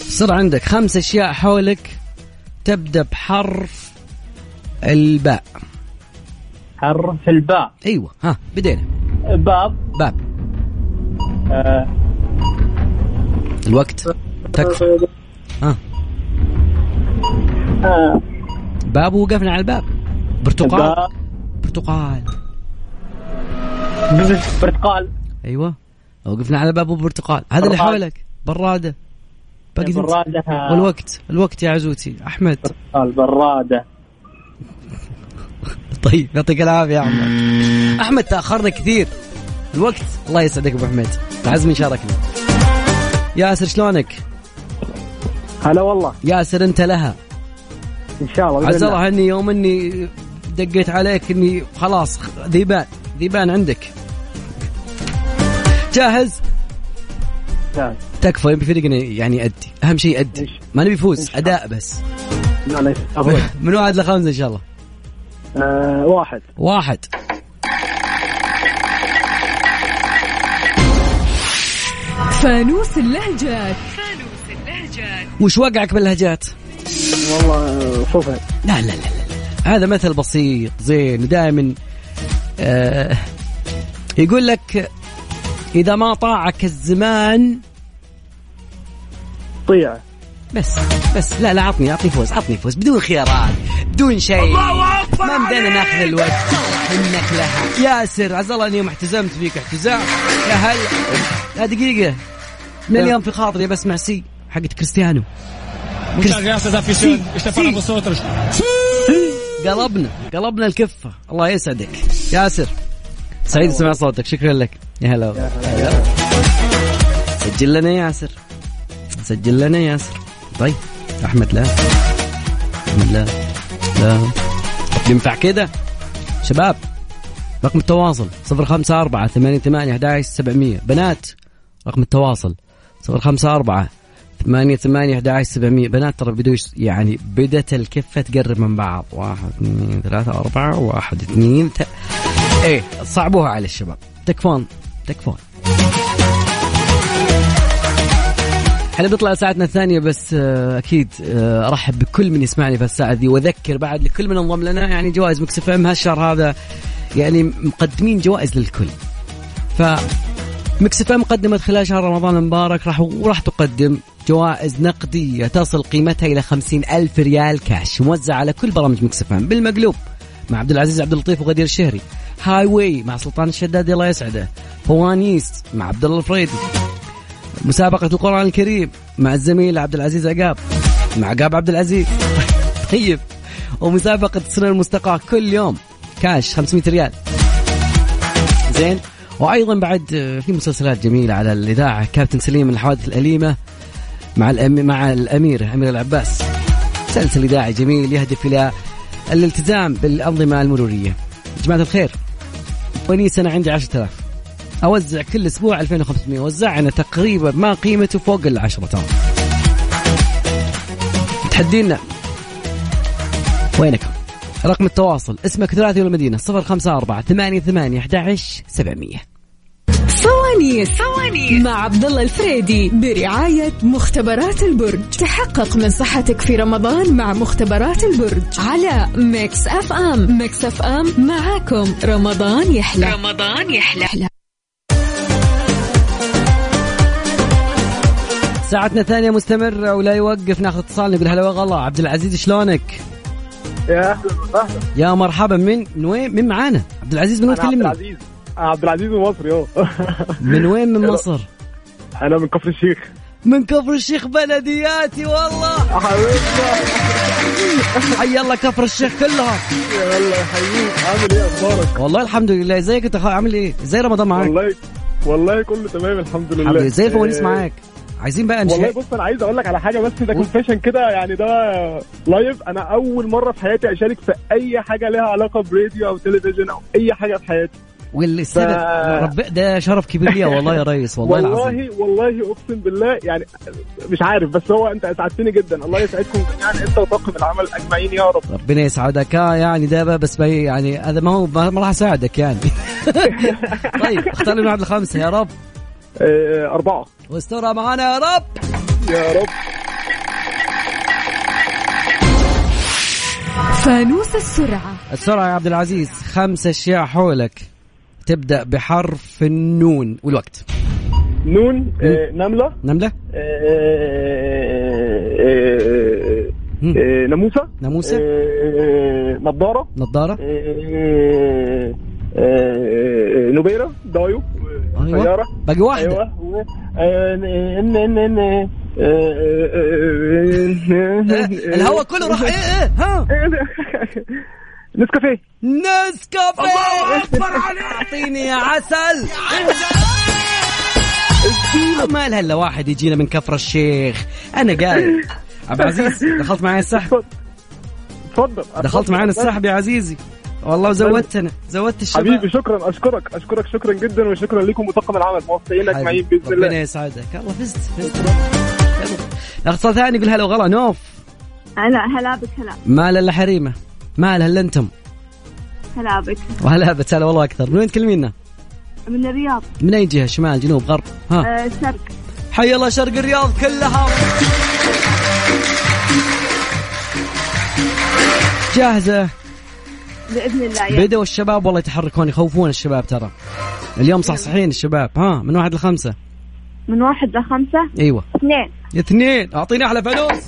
Speaker 4: السرعة عندك خمس أشياء حولك تبدأ بحرف الباء
Speaker 17: حرف الباء
Speaker 4: أيوة ها بدينا
Speaker 17: باب
Speaker 4: باب
Speaker 17: آه،
Speaker 4: الوقت تكفى آه. ها باب وقفنا على الباب برتقال برتقال
Speaker 17: برتقال
Speaker 4: أيوة وقفنا على باب وبرتقال هذا اللي
Speaker 17: براد.
Speaker 4: حولك برادة باقي
Speaker 17: برادة.
Speaker 4: والوقت الوقت يا عزوتي أحمد
Speaker 17: البراده
Speaker 4: طيب يعطيك العافيه يا احمد احمد تاخرنا كثير الوقت الله يسعدك ابو حميد تعزمي شاركنا ياسر شلونك؟
Speaker 17: هلا والله
Speaker 4: ياسر انت لها
Speaker 17: ان شاء الله بإذن
Speaker 4: عز
Speaker 17: الله.
Speaker 4: الله اني يوم اني دقيت عليك اني خلاص خ- ذيبان ذيبان عندك جاهز؟
Speaker 17: جاهز.
Speaker 4: تكفى يبي فريقنا يعني يأدي اهم شيء يأدي ما نبي يفوز اداء بس
Speaker 17: لا، لا، أبوي.
Speaker 4: من واحد لخمسه ان شاء الله
Speaker 17: آه، واحد
Speaker 4: واحد
Speaker 5: فانوس اللهجات
Speaker 4: وش وقعك باللهجات؟
Speaker 17: والله صفر
Speaker 4: لا لا لا, لا. هذا مثل بسيط زين ودائما آه يقول لك اذا ما طاعك الزمان
Speaker 17: طيعه
Speaker 4: بس بس لا لا عطني عطني فوز عطني فوز بدون خيارات بدون شيء ما بدنا ناخذ الوقت انك لها ياسر عز الله اني يوم احتزمت فيك احتزام يا هلا لا دقيقه من اليوم في خاطري بسمع سي حقت كريستيانو قلبنا قلبنا الكفه الله يسعدك ياسر سعيد سمع صوتك شكرا لك يا هلا سجل لنا ياسر سجل لنا ياسر طيب احمد لا احمد لا لا ينفع كده شباب رقم التواصل 054 88 11 700 بنات رقم التواصل 054 88 11 700 بنات ترى بدوا يش- يعني بدت الكفه تقرب من بعض واحد اثنين ثلاثة أربعة واحد اثنين ت... ايه صعبوها على الشباب تكفون تكفون احنا بنطلع ساعتنا الثانية بس آه، أكيد آه، أرحب بكل من يسمعني في الساعة دي وأذكر بعد لكل من انضم لنا يعني جوائز مكسف ام هالشهر هذا يعني مقدمين جوائز للكل ف مكس اف ام قدمت خلال شهر رمضان المبارك راح وراح تقدم جوائز نقدية تصل قيمتها إلى خمسين ألف ريال كاش موزعة على كل برامج مكس اف ام بالمقلوب مع عبد العزيز عبد اللطيف وغدير الشهري هاي واي مع سلطان الشدادي الله يسعده فوانيس مع عبد الله الفريدي مسابقة القرآن الكريم مع الزميل عبد العزيز عقاب مع عقاب عبد العزيز طيب ومسابقة السنة المستقاة كل يوم كاش 500 ريال زين وايضا بعد آه، في مسلسلات جميله على الاذاعه كابتن سليم من الحوادث الاليمه مع الأم... مع الامير امير العباس مسلسل اذاعي جميل يهدف الى الالتزام بالانظمه المروريه جماعه الخير ونيس انا عندي 10000 اوزع كل اسبوع 2500 وزعنا تقريبا ما قيمته فوق ال 10 ترى تحدينا وينكم رقم التواصل اسمك ثلاثي والمدينة 054 88 11 700
Speaker 5: فوانيس فوانيس مع عبد الله الفريدي برعاية مختبرات البرج تحقق من صحتك في رمضان مع مختبرات البرج على ميكس اف ام ميكس اف ام معاكم رمضان يحلى رمضان يحلى
Speaker 4: ساعتنا الثانية مستمرة ولا يوقف ناخذ اتصال نقول هلا والله عبد العزيز شلونك؟
Speaker 16: يا اهلا وسهلا
Speaker 4: يا مرحبا من من وين من معانا؟ عبد العزيز من وين
Speaker 16: أنا عبد
Speaker 4: تكلمنا؟
Speaker 16: العزيز عبد العزيز المصري اهو
Speaker 4: من وين من مصر؟
Speaker 16: انا من كفر الشيخ
Speaker 4: من كفر الشيخ بلدياتي والله حي الله كفر الشيخ كلها
Speaker 16: الله يحييك عامل ايه اخبارك؟
Speaker 4: والله الحمد لله ازيك انت خا- عامل ايه؟ زي رمضان معاك؟
Speaker 16: والله والله كله تمام الحمد لله
Speaker 4: الحمد لله زي الفوانيس
Speaker 16: إيه،
Speaker 4: معاك عايزين بقى
Speaker 16: والله
Speaker 4: نشيك
Speaker 16: بص انا عايز اقول لك على حاجه بس ده كونفيشن كده يعني ده لايف انا اول مره في حياتي اشارك في اي حاجه لها علاقه براديو او تلفزيون او اي حاجه في حياتي
Speaker 4: والسبب
Speaker 16: ف-
Speaker 4: رب ده شرف كبير لي والله يا ريس والله العظيم
Speaker 16: والله والله اقسم بالله يعني مش عارف بس هو انت اسعدتني جدا الله يسعدكم جميعا انت وطاقم العمل اجمعين يا رب
Speaker 4: ربنا يسعدك آه يعني ده بس بي يعني هذا ما هو ما ما راح اساعدك يعني طيب اختار لي بعد الخمسه يا رب
Speaker 16: اربعه
Speaker 4: واسترها معانا يا رب
Speaker 16: آه، يا رب
Speaker 5: فانوس السرعة
Speaker 4: السرعه يا عبد العزيز خمس اشياء حولك تبدا بحرف النون والوقت
Speaker 16: نون آه، نمله
Speaker 4: نمله
Speaker 16: آه، آه، آه، آه، ناموسه
Speaker 4: ناموسة.
Speaker 16: آه، نضاره
Speaker 4: نظاره
Speaker 16: آه، آه، نبيره دايو آه،
Speaker 4: أيوة.
Speaker 16: طياره
Speaker 4: باقي واحدة.
Speaker 16: ايوه آه، ان ان ان آه، آه،
Speaker 4: إيه، الهواء كله راح ايه ايه ها
Speaker 16: نسكافيه
Speaker 4: نسكافيه الله اكبر عليك اعطيني يا عسل إيه. ما لها الا واحد يجينا من كفر الشيخ انا قايل عبد العزيز دخلت معي السحب
Speaker 16: اتفضل
Speaker 4: دخلت معانا السحب يا عزيزي والله زودتنا زودت الشباب
Speaker 16: حبيبي شكرا اشكرك اشكرك شكرا جدا وشكرا لكم وطاقم العمل موفقين اجمعين باذن
Speaker 4: ربنا
Speaker 16: طيب، الله
Speaker 4: يسعدك يلا فزت فزت يلا اختصار ثاني يقول هلا وغلا نوف
Speaker 7: هلا هلا بك هلا
Speaker 4: ما لها الا حريمه ما لها الا انتم
Speaker 7: هلا بك
Speaker 4: وهلا بس هلا والله اكثر من وين تكلمينا؟
Speaker 7: من الرياض
Speaker 4: من اي جهه شمال جنوب غرب ها
Speaker 7: آه شرق
Speaker 4: حي الله شرق الرياض كلها جاهزه
Speaker 7: باذن الله يعني يا
Speaker 4: بدأوا الشباب والله يتحركون يخوفون الشباب ترى اليوم صحصحين الشباب ها من واحد لخمسة
Speaker 7: من واحد لخمسة
Speaker 4: ايوه
Speaker 7: اثنين
Speaker 4: اثنين اعطيني احلى فانوس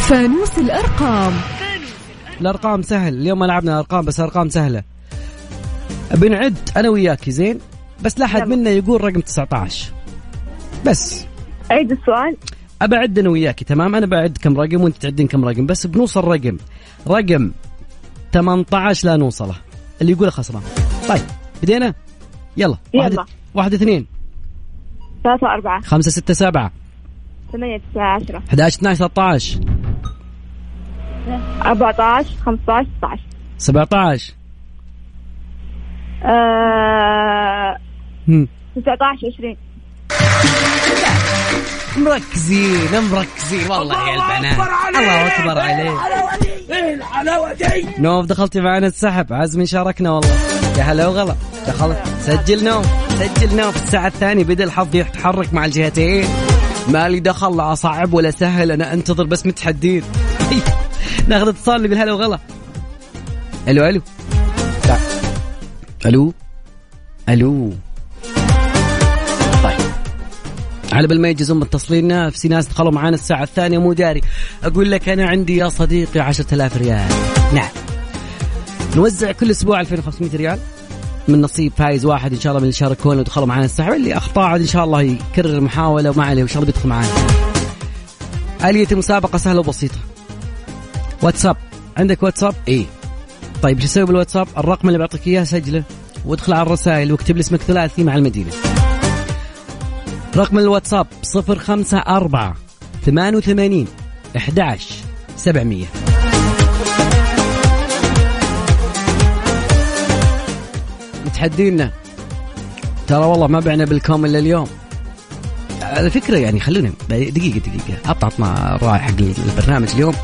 Speaker 5: فانوس الأرقام
Speaker 4: الارقام سهل اليوم ما لعبنا الارقام بس ارقام سهلة بنعد انا وياكي زين بس لا احد منا يقول رقم 19 بس
Speaker 7: عيد السؤال
Speaker 4: ابعد انا وياكي تمام انا بعد كم رقم وانت تعدين كم رقم بس بنوصل رقم رقم 18 لا نوصله اللي يقوله خسران طيب بدينا يلا واحد
Speaker 7: يلا.
Speaker 4: واحد اثنين
Speaker 7: ثلاثة أربعة
Speaker 4: خمسة ستة سبعة
Speaker 7: ثمانية تسعة عشرة
Speaker 4: 11 12 13
Speaker 7: 14 15 16
Speaker 4: 17
Speaker 7: آه،
Speaker 4: هم.
Speaker 7: 19 20
Speaker 4: مركزين مركزين والله يا البنات الله اكبر عليك
Speaker 6: ايه الحلاوه دي
Speaker 4: نوف دخلتي معنا السحب عزمي شاركنا والله يا هلا وغلا دخلت سجل نوف سجل نوف الساعة الثانية بدأ الحظ يتحرك مع الجهتين مالي دخل لا أصعب ولا سهل أنا أنتظر بس متحدين ناخذ اتصال نقول هلا وغلا ألو ألو لا. ألو ألو طيب على بال ما يجزم متصلين نفسي ناس دخلوا معانا الساعة الثانية مو داري أقول لك أنا عندي يا صديقي 10000 ريال نعم نوزع كل أسبوع 2500 ريال من نصيب فايز واحد إن شاء الله من اللي شاركونا ودخلوا معانا السحب اللي أخطاء عاد إن شاء الله يكرر المحاولة وما عليه وإن شاء الله بيدخل معانا آلية المسابقة سهلة وبسيطة واتساب عندك واتساب؟ إيه طيب شو اسوي بالواتساب؟ الرقم اللي بعطيك اياه سجله وادخل على الرسائل واكتب لي اسمك ثلاثي مع المدينه. رقم الواتساب 054 88 11 700 متحدينا ترى والله ما بعنا بالكوم الا اليوم على فكره يعني خلونا دقيقه دقيقه حط عطنا راي حق البرنامج اليوم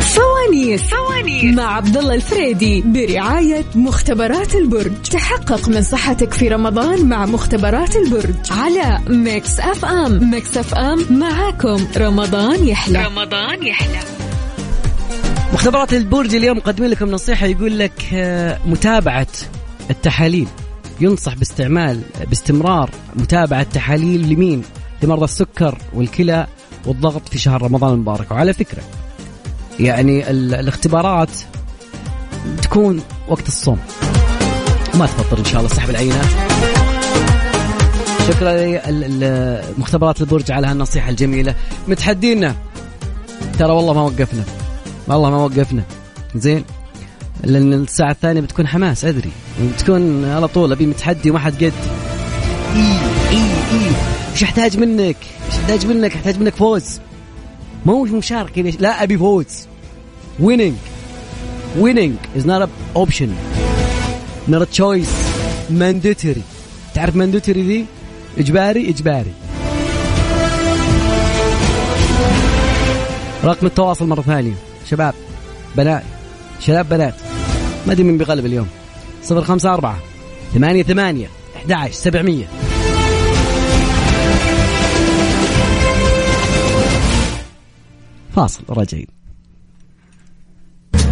Speaker 5: فوانيس فوانيس مع عبد الله الفريدي برعاية مختبرات البرج تحقق من صحتك في رمضان مع مختبرات البرج على ميكس اف ام ميكس اف ام معاكم رمضان يحلى رمضان يحلى
Speaker 4: مختبرات البرج اليوم مقدمين لكم نصيحة يقول لك آه، متابعة التحاليل ينصح باستعمال باستمرار متابعة تحاليل لمين؟ لمرضى السكر والكلى والضغط في شهر رمضان المبارك وعلى فكرة يعني ال- الاختبارات تكون وقت الصوم ما تفطر ان شاء الله سحب العينات شكرا لمختبرات البرج على هالنصيحة الجميلة متحدينا ترى والله ما وقفنا والله ما وقفنا زين لأن الساعة الثانية بتكون حماس أدري بتكون على طول أبي متحدي وما حد قد إي إي إي إيش أحتاج منك؟ إيش أحتاج منك؟ أحتاج منك فوز مو مشاركة ليش؟ لا أبي فوز winning winning is not an option not a choice mandatory تعرف mandatory دي؟ إجباري إجباري رقم التواصل مرة ثانية شباب بنات شباب بنات ما أدري مين بيغلب اليوم 054 ثمانية ثمانية 11 700 فاصل راجعين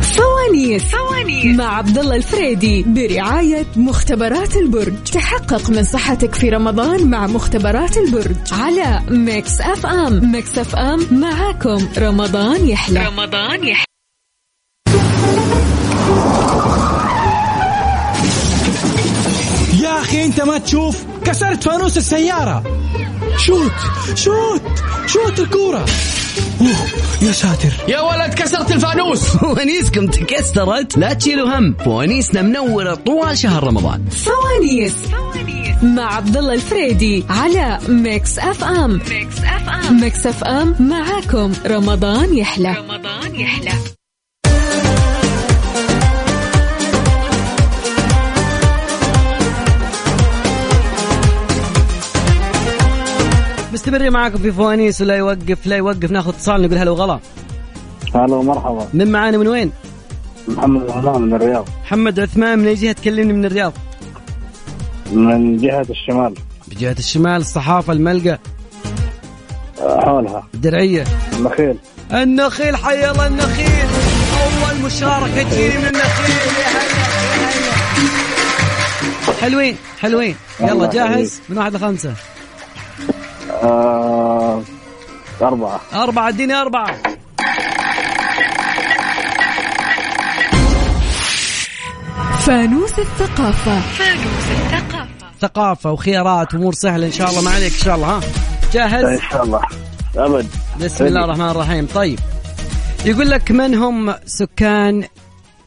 Speaker 5: فوانيس فوانيس مع عبد الله الفريدي برعاية مختبرات البرج تحقق من صحتك في رمضان مع مختبرات البرج على ميكس اف ام ميكس اف ام معاكم رمضان يحلى رمضان يحلى
Speaker 2: يا اخي انت ما تشوف كسرت فانوس السياره شوت شوت شوت الكوره اوه يا ساتر
Speaker 19: يا ولد كسرت الفانوس
Speaker 20: فوانيسكم تكسرت لا تشيلوا هم فوانيسنا منورة طوال شهر رمضان
Speaker 5: فوانيس مع عبد الله الفريدي على ميكس اف ام ميكس اف ام ميكس اف ام معاكم رمضان يحلى رمضان يحلى
Speaker 4: مستمرين معاكم في فوانيس ولا يوقف لا يوقف ناخذ اتصال نقول هلا وغلا
Speaker 17: هلا ومرحبا
Speaker 4: من معانا من وين؟
Speaker 17: محمد عثمان من الرياض
Speaker 4: محمد عثمان من اي جهه تكلمني من الرياض؟
Speaker 17: من جهة الشمال
Speaker 4: بجهه الشمال الصحافه الملقا
Speaker 17: آه، حولها
Speaker 4: الدرعيه
Speaker 17: النخيل
Speaker 4: النخيل حي الله النخيل اول مشاركه تجيني من النخيل يا هلا، يا هلا. حلوين حلوين
Speaker 17: الله
Speaker 4: يلا
Speaker 17: يخليك.
Speaker 4: جاهز من واحد لخمسه
Speaker 17: آه، أربعة
Speaker 4: أربعة اديني أربعة
Speaker 5: فانوس الثقافة فانوس الثقافة
Speaker 4: ثقافة وخيارات وأمور سهلة إن شاء الله ما عليك إن شاء الله ها جاهز؟
Speaker 17: إن
Speaker 16: طيب.
Speaker 17: شاء الله أبد
Speaker 4: بسم الله الرحمن الرحيم طيب يقول لك من هم سكان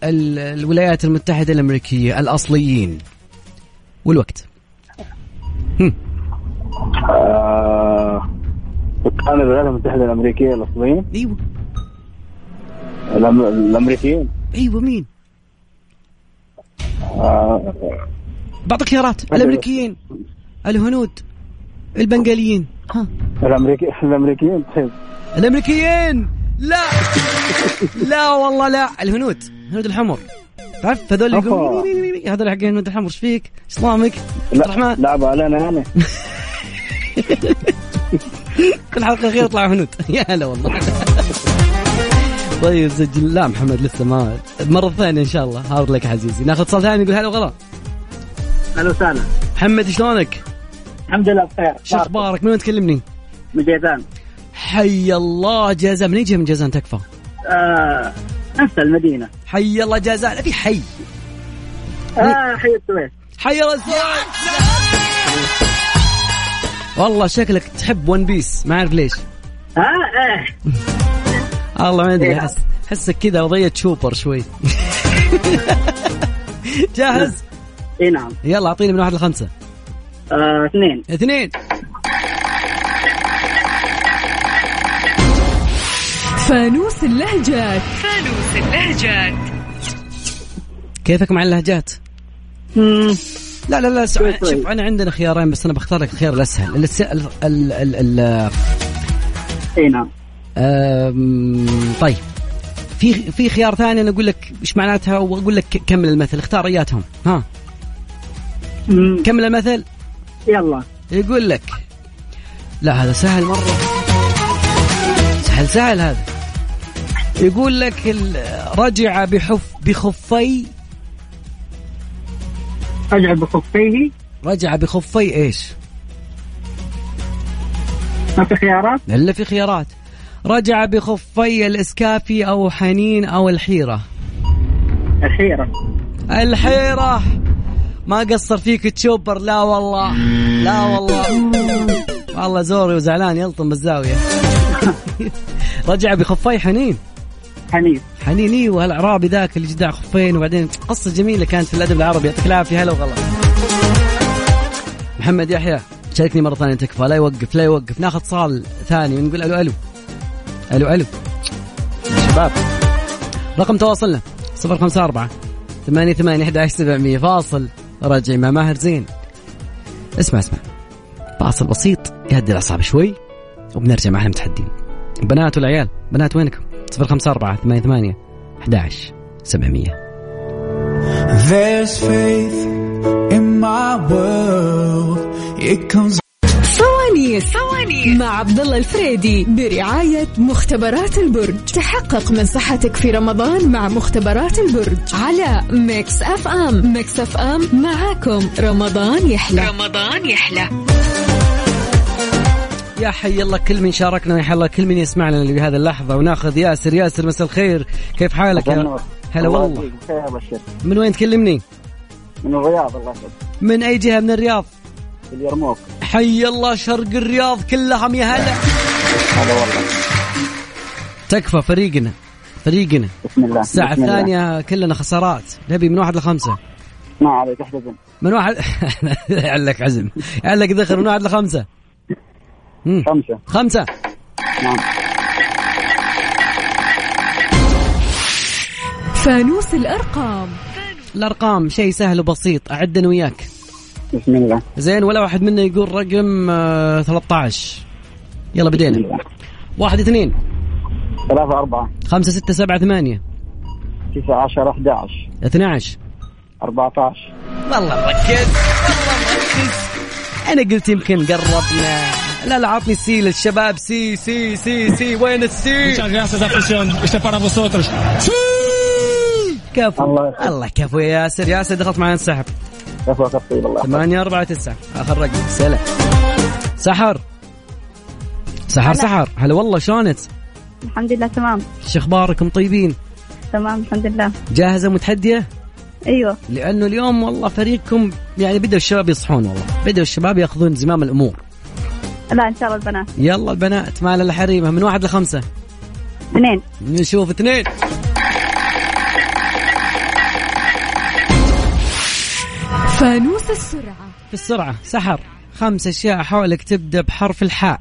Speaker 4: ال- الولايات المتحدة الأمريكية الأصليين والوقت
Speaker 17: آه، سكان الولايات المتحدة الأمريكية الأصليين
Speaker 4: أيوة
Speaker 17: الأم- الامريكيين
Speaker 4: ايوه مين؟
Speaker 17: آه،
Speaker 4: بعطيك خيارات الامريكيين الهنود البنغاليين ها
Speaker 17: الامريكي الامريكيين طيب
Speaker 4: الامريكيين لا لا والله لا الهنود الهنود الحمر تعرف هذول اللي يقولون مي- مي- مي- مي- هذول حقين الهنود الحمر ايش فيك؟ ايش طعمك؟
Speaker 17: لا
Speaker 4: الرحمن
Speaker 17: لعبوا علينا يعني
Speaker 4: كل حلقه خير يطلع هنود يا هلا والله طيب سجل لا محمد لسه ما المره الثانيه ان شاء الله هارد لك عزيزي ناخذ اتصال ثاني يقول هلا وغلا
Speaker 6: اهلا وسهلا
Speaker 4: محمد شلونك؟
Speaker 6: الحمد لله بخير
Speaker 17: آه،
Speaker 4: شو اخبارك؟ من وين تكلمني؟
Speaker 6: من جيزان
Speaker 4: حي الله جازان من يجي من جازان تكفى؟
Speaker 6: آه، نفس المدينه
Speaker 4: حي الله جازان في حي
Speaker 6: آه، حي السويس
Speaker 4: حي السويس والله شكلك تحب ون بيس ما اعرف ليش
Speaker 6: ها
Speaker 17: آه،
Speaker 6: ايه
Speaker 4: الله ما ادري
Speaker 6: إيه.
Speaker 4: احس احسك كذا وضية شوبر شوي جاهز؟
Speaker 6: اي نعم
Speaker 4: يلا اعطيني من واحد لخمسه
Speaker 6: آه، اثنين
Speaker 4: اثنين
Speaker 5: فانوس اللهجات فانوس اللهجات
Speaker 4: كيفك مع اللهجات؟
Speaker 6: مم.
Speaker 4: لا لا لا
Speaker 6: شوي
Speaker 4: سع-
Speaker 6: شوي.
Speaker 4: شوف انا عندنا خيارين بس انا بختار لك الخيار الاسهل الس- ال ال ال ال
Speaker 6: اي نعم
Speaker 4: أم، طيب في في خيار ثاني انا اقول لك ايش معناتها واقول لك ك- كمل المثل اختار اياتهم ها كمل المثل
Speaker 6: يلا
Speaker 4: يقول لك لا هذا سهل مره سهل سهل هذا يقول لك ال- رجع بحف بخفي
Speaker 6: رجع بخفيه
Speaker 4: رجع بخفي ايش؟
Speaker 6: ما في خيارات
Speaker 4: الا في خيارات رجع بخفي الاسكافي او حنين او الحيره
Speaker 6: الحيره
Speaker 4: الحيرة ما قصر فيك تشوبر لا والله لا والله والله زوري وزعلان يلطم بالزاوية رجع بخفاي حنين
Speaker 6: حنين
Speaker 4: حنين ايوه الاعرابي ذاك اللي جدع خفين وبعدين قصة جميلة كانت في الادب العربي يعطيك العافية هلا وغلا محمد يحيى شاركني مرة ثانية تكفى لا يوقف لا يوقف ناخذ اتصال ثاني ونقول الو الو الو الو شباب رقم تواصلنا 054 ثمانية ثمانية أحد سبعمية فاصل راجع مع ماهر زين اسمع اسمع فاصل بسيط يهدي الأعصاب شوي وبنرجع مع المتحدين بنات والعيال بنات وينكم 054 88 11 700
Speaker 21: There's faith in my world. It comes.
Speaker 5: فوانيس فوانيس مع عبد الله الفريدي برعاية مختبرات البرج تحقق من صحتك في رمضان مع مختبرات البرج على ميكس اف ام ميكس اف ام معاكم رمضان يحلى رمضان يحلى
Speaker 4: يا حي الله كل من شاركنا يا حي الله كل من يسمعنا بهذا اللحظة وناخذ ياسر ياسر مساء الخير كيف حالك يا
Speaker 17: الله
Speaker 4: هلا
Speaker 17: الله
Speaker 4: والله
Speaker 17: يعطيك الخير يا بشير
Speaker 4: من وين تكلمني
Speaker 17: من الرياض الله يسعدك
Speaker 4: من أي جهة من الرياض
Speaker 17: اليرموك
Speaker 4: حي الله شرق الرياض كلهم يا هلا
Speaker 17: هلا والله
Speaker 4: تكفى فريقنا فريقنا
Speaker 17: بسم الله
Speaker 4: الساعة
Speaker 17: بسم الله.
Speaker 4: الثانية كلنا خسارات نبي من واحد لخمسة
Speaker 17: ما عليك احتزم
Speaker 4: من واحد علك عزم علك ذخر من واحد لخمسة مم.
Speaker 17: خمسة
Speaker 4: خمسة
Speaker 17: نعم
Speaker 5: فانوس الارقام
Speaker 4: الأرقام شيء سهل وبسيط أعد أنا وياك
Speaker 17: بسم الله
Speaker 4: زين ولا واحد منا يقول رقم آه 13 يلا بدينا واحد اثنين
Speaker 17: ثلاثة أربعة
Speaker 4: خمسة ستة سبعة ثمانية
Speaker 17: تسعة عشر أحد عشر
Speaker 4: اثنا عشر
Speaker 17: أربعة عشر
Speaker 4: والله ركز والله ركز انا قلت يمكن قربنا لا لا عطني السي للشباب سي سي سي سي وين السي كفو
Speaker 17: الله
Speaker 4: الله كفو يا ياسر ياسر دخلت معنا السحب
Speaker 17: كفو كفو الله
Speaker 4: 8 4 9 اخر رقم سلام سحر سحر
Speaker 7: هلا.
Speaker 4: سحر هلا والله شلونك؟
Speaker 7: الحمد لله تمام
Speaker 4: شو اخباركم طيبين؟
Speaker 7: تمام الحمد لله
Speaker 4: جاهزه متحديه؟
Speaker 7: ايوه
Speaker 4: لانه اليوم والله فريقكم يعني بدأوا الشباب يصحون والله، بدأوا الشباب ياخذون زمام الامور.
Speaker 7: لا ان شاء الله البنات
Speaker 4: يلا البنات معنا الحريمه من واحد لخمسه
Speaker 7: اثنين
Speaker 4: نشوف اثنين
Speaker 5: فانوس السرعة
Speaker 4: في السرعه سحر خمس اشياء حولك تبدا بحرف الحاء.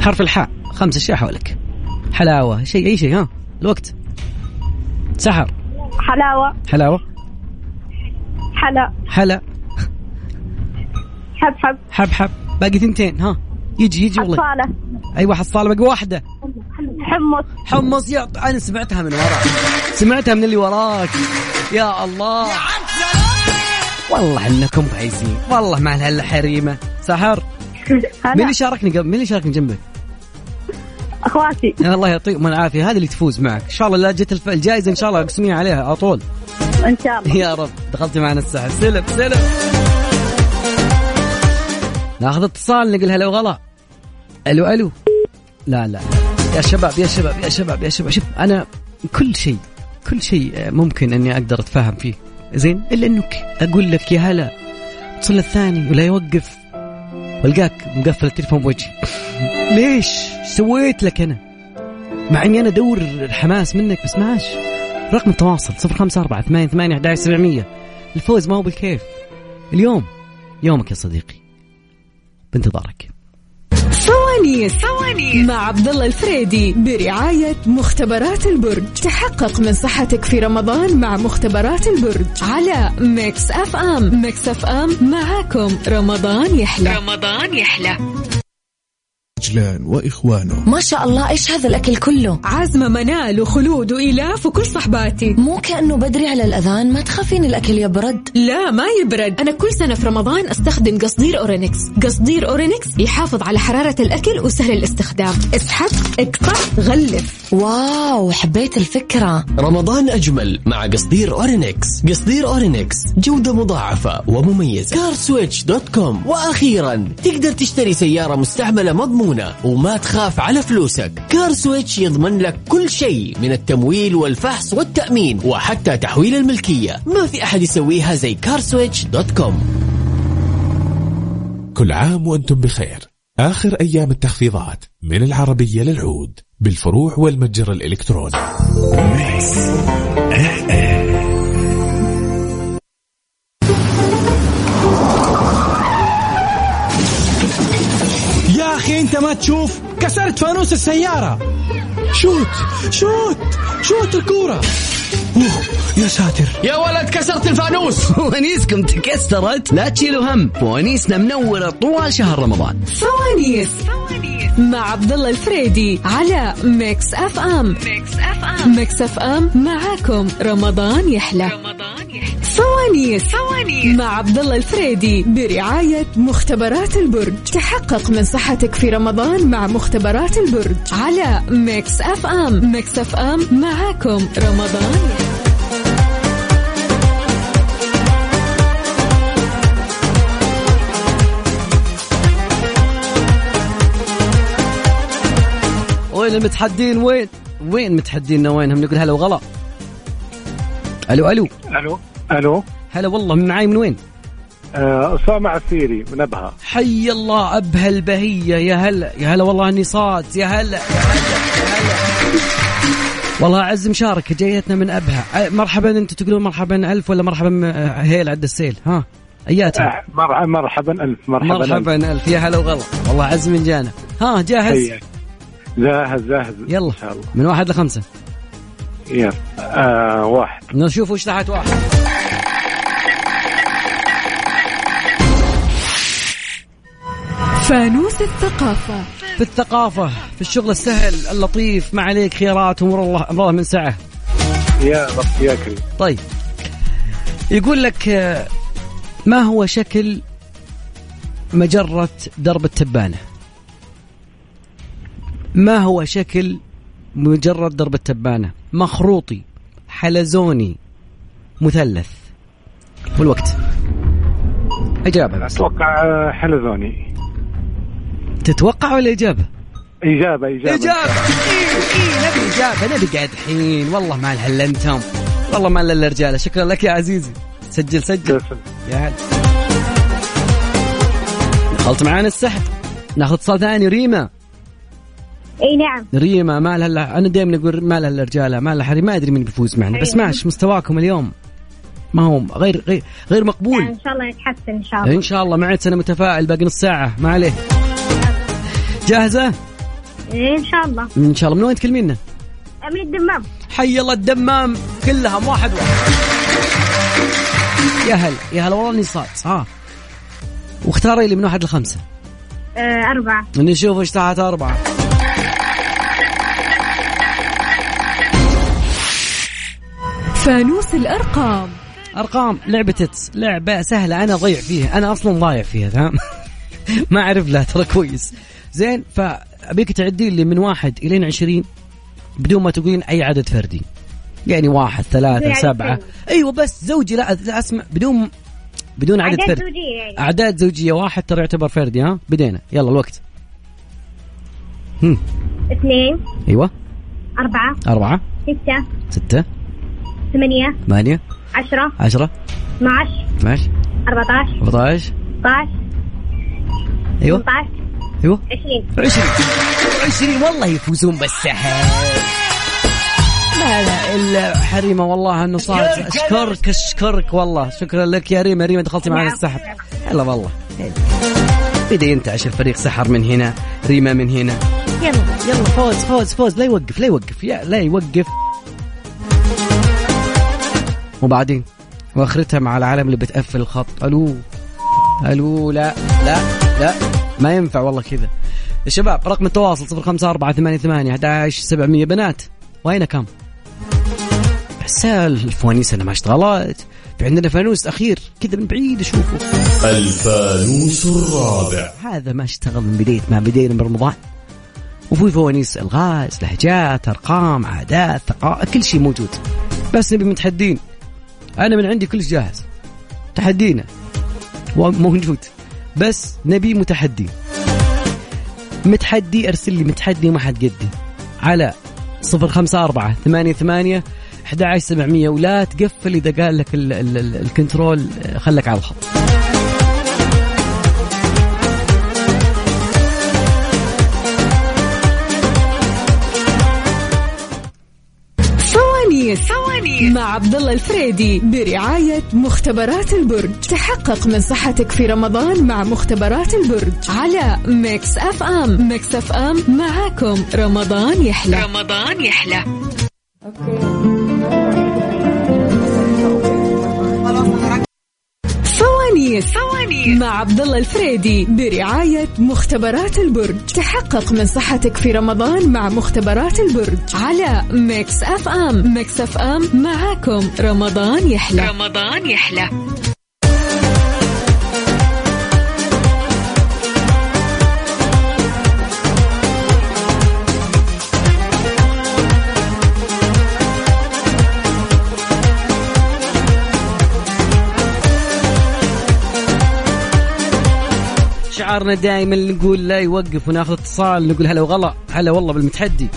Speaker 4: حرف الحاء خمس اشياء حولك. حلاوه شيء اي شيء ها الوقت سحر
Speaker 7: حلاوة
Speaker 4: حلاوه
Speaker 7: حلا
Speaker 4: حلا
Speaker 7: حب حب
Speaker 4: حب حب باقي ثنتين ها يجي يجي والله
Speaker 7: حصالة
Speaker 4: ايوه حصاله باقي واحده
Speaker 7: حمص
Speaker 4: حمص يا انا سمعتها من وراك سمعتها من اللي وراك يا الله والله انكم بايزين والله مع الهله حريمه سحر مين اللي شاركني قبل مين اللي شاركني جنبك
Speaker 7: اخواتي
Speaker 4: الله يعطيكم العافيه هذه اللي تفوز معك ان شاء الله لا جت الف- الجائزه ان شاء الله اقسمي عليها على طول
Speaker 7: ان شاء الله
Speaker 4: يا رب دخلتي معنا السحر سلم سلم ناخذ اتصال نقول هلا وغلا الو الو لا لا يا شباب يا شباب يا شباب يا شباب شوف انا كل شيء كل شيء ممكن اني اقدر اتفاهم فيه زين الا انك اقول لك يا هلا اتصل الثاني ولا يوقف والقاك مقفل التليفون بوجهي ليش سويت لك انا مع اني انا ادور الحماس منك بس معاش رقم التواصل 054 88 11700 الفوز ما هو بالكيف اليوم يومك يا صديقي بانتظارك
Speaker 5: فوانيس فوانيس مع عبد الله الفريدي برعاية مختبرات البرج تحقق من صحتك في رمضان مع مختبرات البرج على ميكس اف ام ميكس اف ام معاكم رمضان يحلى رمضان يحلى
Speaker 12: عجلان وإخوانه
Speaker 13: ما شاء الله ايش هذا الاكل كله
Speaker 5: عزمة منال وخلود وإلاف وكل صحباتي
Speaker 13: مو كأنه بدري على الأذان ما تخافين الأكل يبرد
Speaker 5: لا ما يبرد أنا كل سنة في رمضان أستخدم قصدير أورينكس قصدير أورينكس يحافظ على حرارة الأكل وسهل الاستخدام اسحب اقطع غلف
Speaker 13: واو حبيت الفكرة
Speaker 1: رمضان أجمل مع قصدير أورينكس قصدير أورينكس جودة مضاعفة ومميزة كارسويتش دوت كوم وأخيرا تقدر تشتري سيارة مستعملة مضمونة وما تخاف على فلوسك كارسويتش يضمن لك كل شيء من التمويل والفحص والتأمين وحتى تحويل الملكية ما في أحد يسويها زي كارسويتش دوت كوم
Speaker 15: كل عام وأنتم بخير آخر أيام التخفيضات من العربية للعود بالفروع والمتجر الإلكتروني
Speaker 2: يا اخي انت ما تشوف كسرت فانوس السياره شوت شوت شوت الكوره اوه يا ساتر
Speaker 20: يا ولد كسرت الفانوس فوانيسكم تكسرت لا تشيلوا هم فوانيسنا منورة طوال شهر رمضان
Speaker 5: فوانيس مع عبد الله الفريدي على ميكس اف ام ميكس اف ام ميكس اف ام معاكم رمضان يحلى فوانيس فوانيس مع عبد الله الفريدي برعاية مختبرات البرج تحقق من صحتك في رمضان مع مختبرات البرج على ميكس اف ام ميكس اف ام معاكم رمضان يحلى.
Speaker 4: وين المتحدين وين وين متحدينا وينهم نقول هلا وغلا الو الو
Speaker 16: الو الو
Speaker 4: هلا والله من معاي من وين
Speaker 16: آه، اسامه عسيري من ابها
Speaker 4: حي الله ابها البهيه يا هلا يا هلا والله اني صاد يا هلا يا هلا يا هلا. والله عز مشاركه جايتنا من ابها أه، مرحبا انتم تقولون مرحبا الف ولا مرحبا أه، هيل عد السيل ها اياتها
Speaker 16: آه، مرحبا مرحبا الف مرحبا
Speaker 4: مرحبا
Speaker 16: ألف.
Speaker 4: الف يا هلا وغلا والله عز من جانا ها جاهز
Speaker 16: حياك. جاهز جاهز
Speaker 4: يلا.
Speaker 16: ان شاء الله
Speaker 4: من واحد لخمسه
Speaker 16: يلا آه واحد
Speaker 4: نشوف وش تحت واحد
Speaker 5: فانوس الثقافة
Speaker 4: في الثقافه في الشغل السهل اللطيف ما عليك خيارات امر الله امر الله من سعه
Speaker 16: يا رب يا كريم
Speaker 4: طيب يقول لك آه، ما هو شكل مجرة درب التبانة ما هو شكل مجرة درب التبانة مخروطي حلزوني مثلث والوقت إجابة بس
Speaker 16: اتوقع آه، حلزوني
Speaker 4: تتوقع ولا إجابة
Speaker 16: اجابه اجابه
Speaker 4: إجابة إيه، نبي إجابة نبي قاعد الحين والله ما الهلا انتم والله ما الا الرجالة شكرا لك يا عزيزي سجل سجل يا هلا دخلت معانا السحب ناخذ اتصال ثاني ريما
Speaker 9: اي نعم
Speaker 4: ريما ما لها الا انا دائما اقول ما لها الا رجاله ما لها حري ما ادري مين بيفوز معنا بس ماش مستواكم اليوم ما هو غير غير غير مقبول
Speaker 9: ان شاء الله يتحسن ان شاء الله
Speaker 4: ان شاء الله معد انا متفائل باقي نص ساعه ما عليه جاهزه
Speaker 7: إيه إن شاء الله
Speaker 4: ان شاء الله من وين تكلمينا؟
Speaker 7: أمين الدمام
Speaker 4: حي الله الدمام كلهم واحد واحد يا هلا يا هلا والله اني صاد ها واختاري لي من واحد لخمسه
Speaker 7: آه أربعة
Speaker 4: نشوف ايش تحت اربعه
Speaker 5: فانوس الأرقام
Speaker 4: ارقام لعبه تتس لعبه سهله انا ضيع فيها انا اصلا ضايع فيها تمام ما اعرف لا ترى كويس زين فابيك تعدي لي من واحد الين عشرين بدون ما تقولين اي عدد فردي يعني واحد ثلاثة
Speaker 7: يعني
Speaker 4: سبعة
Speaker 7: فردي.
Speaker 4: ايوه بس زوجي لا, لا اسمع بدون بدون عدد
Speaker 7: أعداد
Speaker 4: فردي
Speaker 7: زوجية يعني.
Speaker 4: اعداد زوجية واحد ترى يعتبر فردي ها بدينا يلا الوقت هم.
Speaker 7: اثنين
Speaker 4: ايوه
Speaker 7: أربعة
Speaker 4: أربعة
Speaker 7: ستة
Speaker 4: ستة
Speaker 7: ثمانية
Speaker 4: ثمانية
Speaker 7: عشرة
Speaker 4: عشرة
Speaker 7: 12
Speaker 4: 12
Speaker 7: 14
Speaker 4: 14
Speaker 7: 16
Speaker 4: ايوه
Speaker 7: 18
Speaker 4: ايوه
Speaker 7: 20
Speaker 4: 20 20 والله يفوزون بالسحر لا لا الا حريمه والله انه صار اشكرك اشكرك والله شكرا لك يا ريما ريما دخلتي معنا السحر هلا والله هلا. بدا ينتعش الفريق سحر من هنا ريما من هنا
Speaker 7: يلا
Speaker 4: يلا فوز فوز فوز لا يوقف لا يوقف يا لا يوقف وبعدين واخرتها مع العالم اللي بتقفل الخط الو الو لا لا لا ما ينفع والله كذا يا شباب رقم التواصل 05488 11700 بنات وين كم؟ عسال الفوانيس انا ما اشتغلت في عندنا فانوس اخير كذا من بعيد اشوفه
Speaker 3: الفانوس الرابع
Speaker 4: هذا ما اشتغل من بدايه ما بدينا من رمضان وفي فوانيس الغاز لهجات ارقام عادات ثقا كل شيء موجود بس نبي متحدين انا من عندي كل شيء جاهز تحدينا وموجود بس نبي متحدي متحدي ارسل لي متحدي ما حد قدي على 054 88 11700 ولا تقفل اذا قال لك ال- ال- ال- الكنترول آه، خلك على الخط
Speaker 5: فوانيس فوانيس مع عبد الله الفريدي برعاية مختبرات البرج تحقق من صحتك في رمضان مع مختبرات البرج على ميكس اف ام ميكس اف ام معاكم رمضان يحلى رمضان يحلى فوانيس فوانيس مع عبد الله الفريدي برعاية مختبرات البرج تحقق من صحتك في رمضان مع مختبرات البرج على ميكس اف ام ميكس اف ام معاكم رمضان يحلى رمضان يحلى
Speaker 4: شعارنا دائما نقول لا يوقف وناخذ اتصال نقول هلا وغلا هلا والله بالمتحدي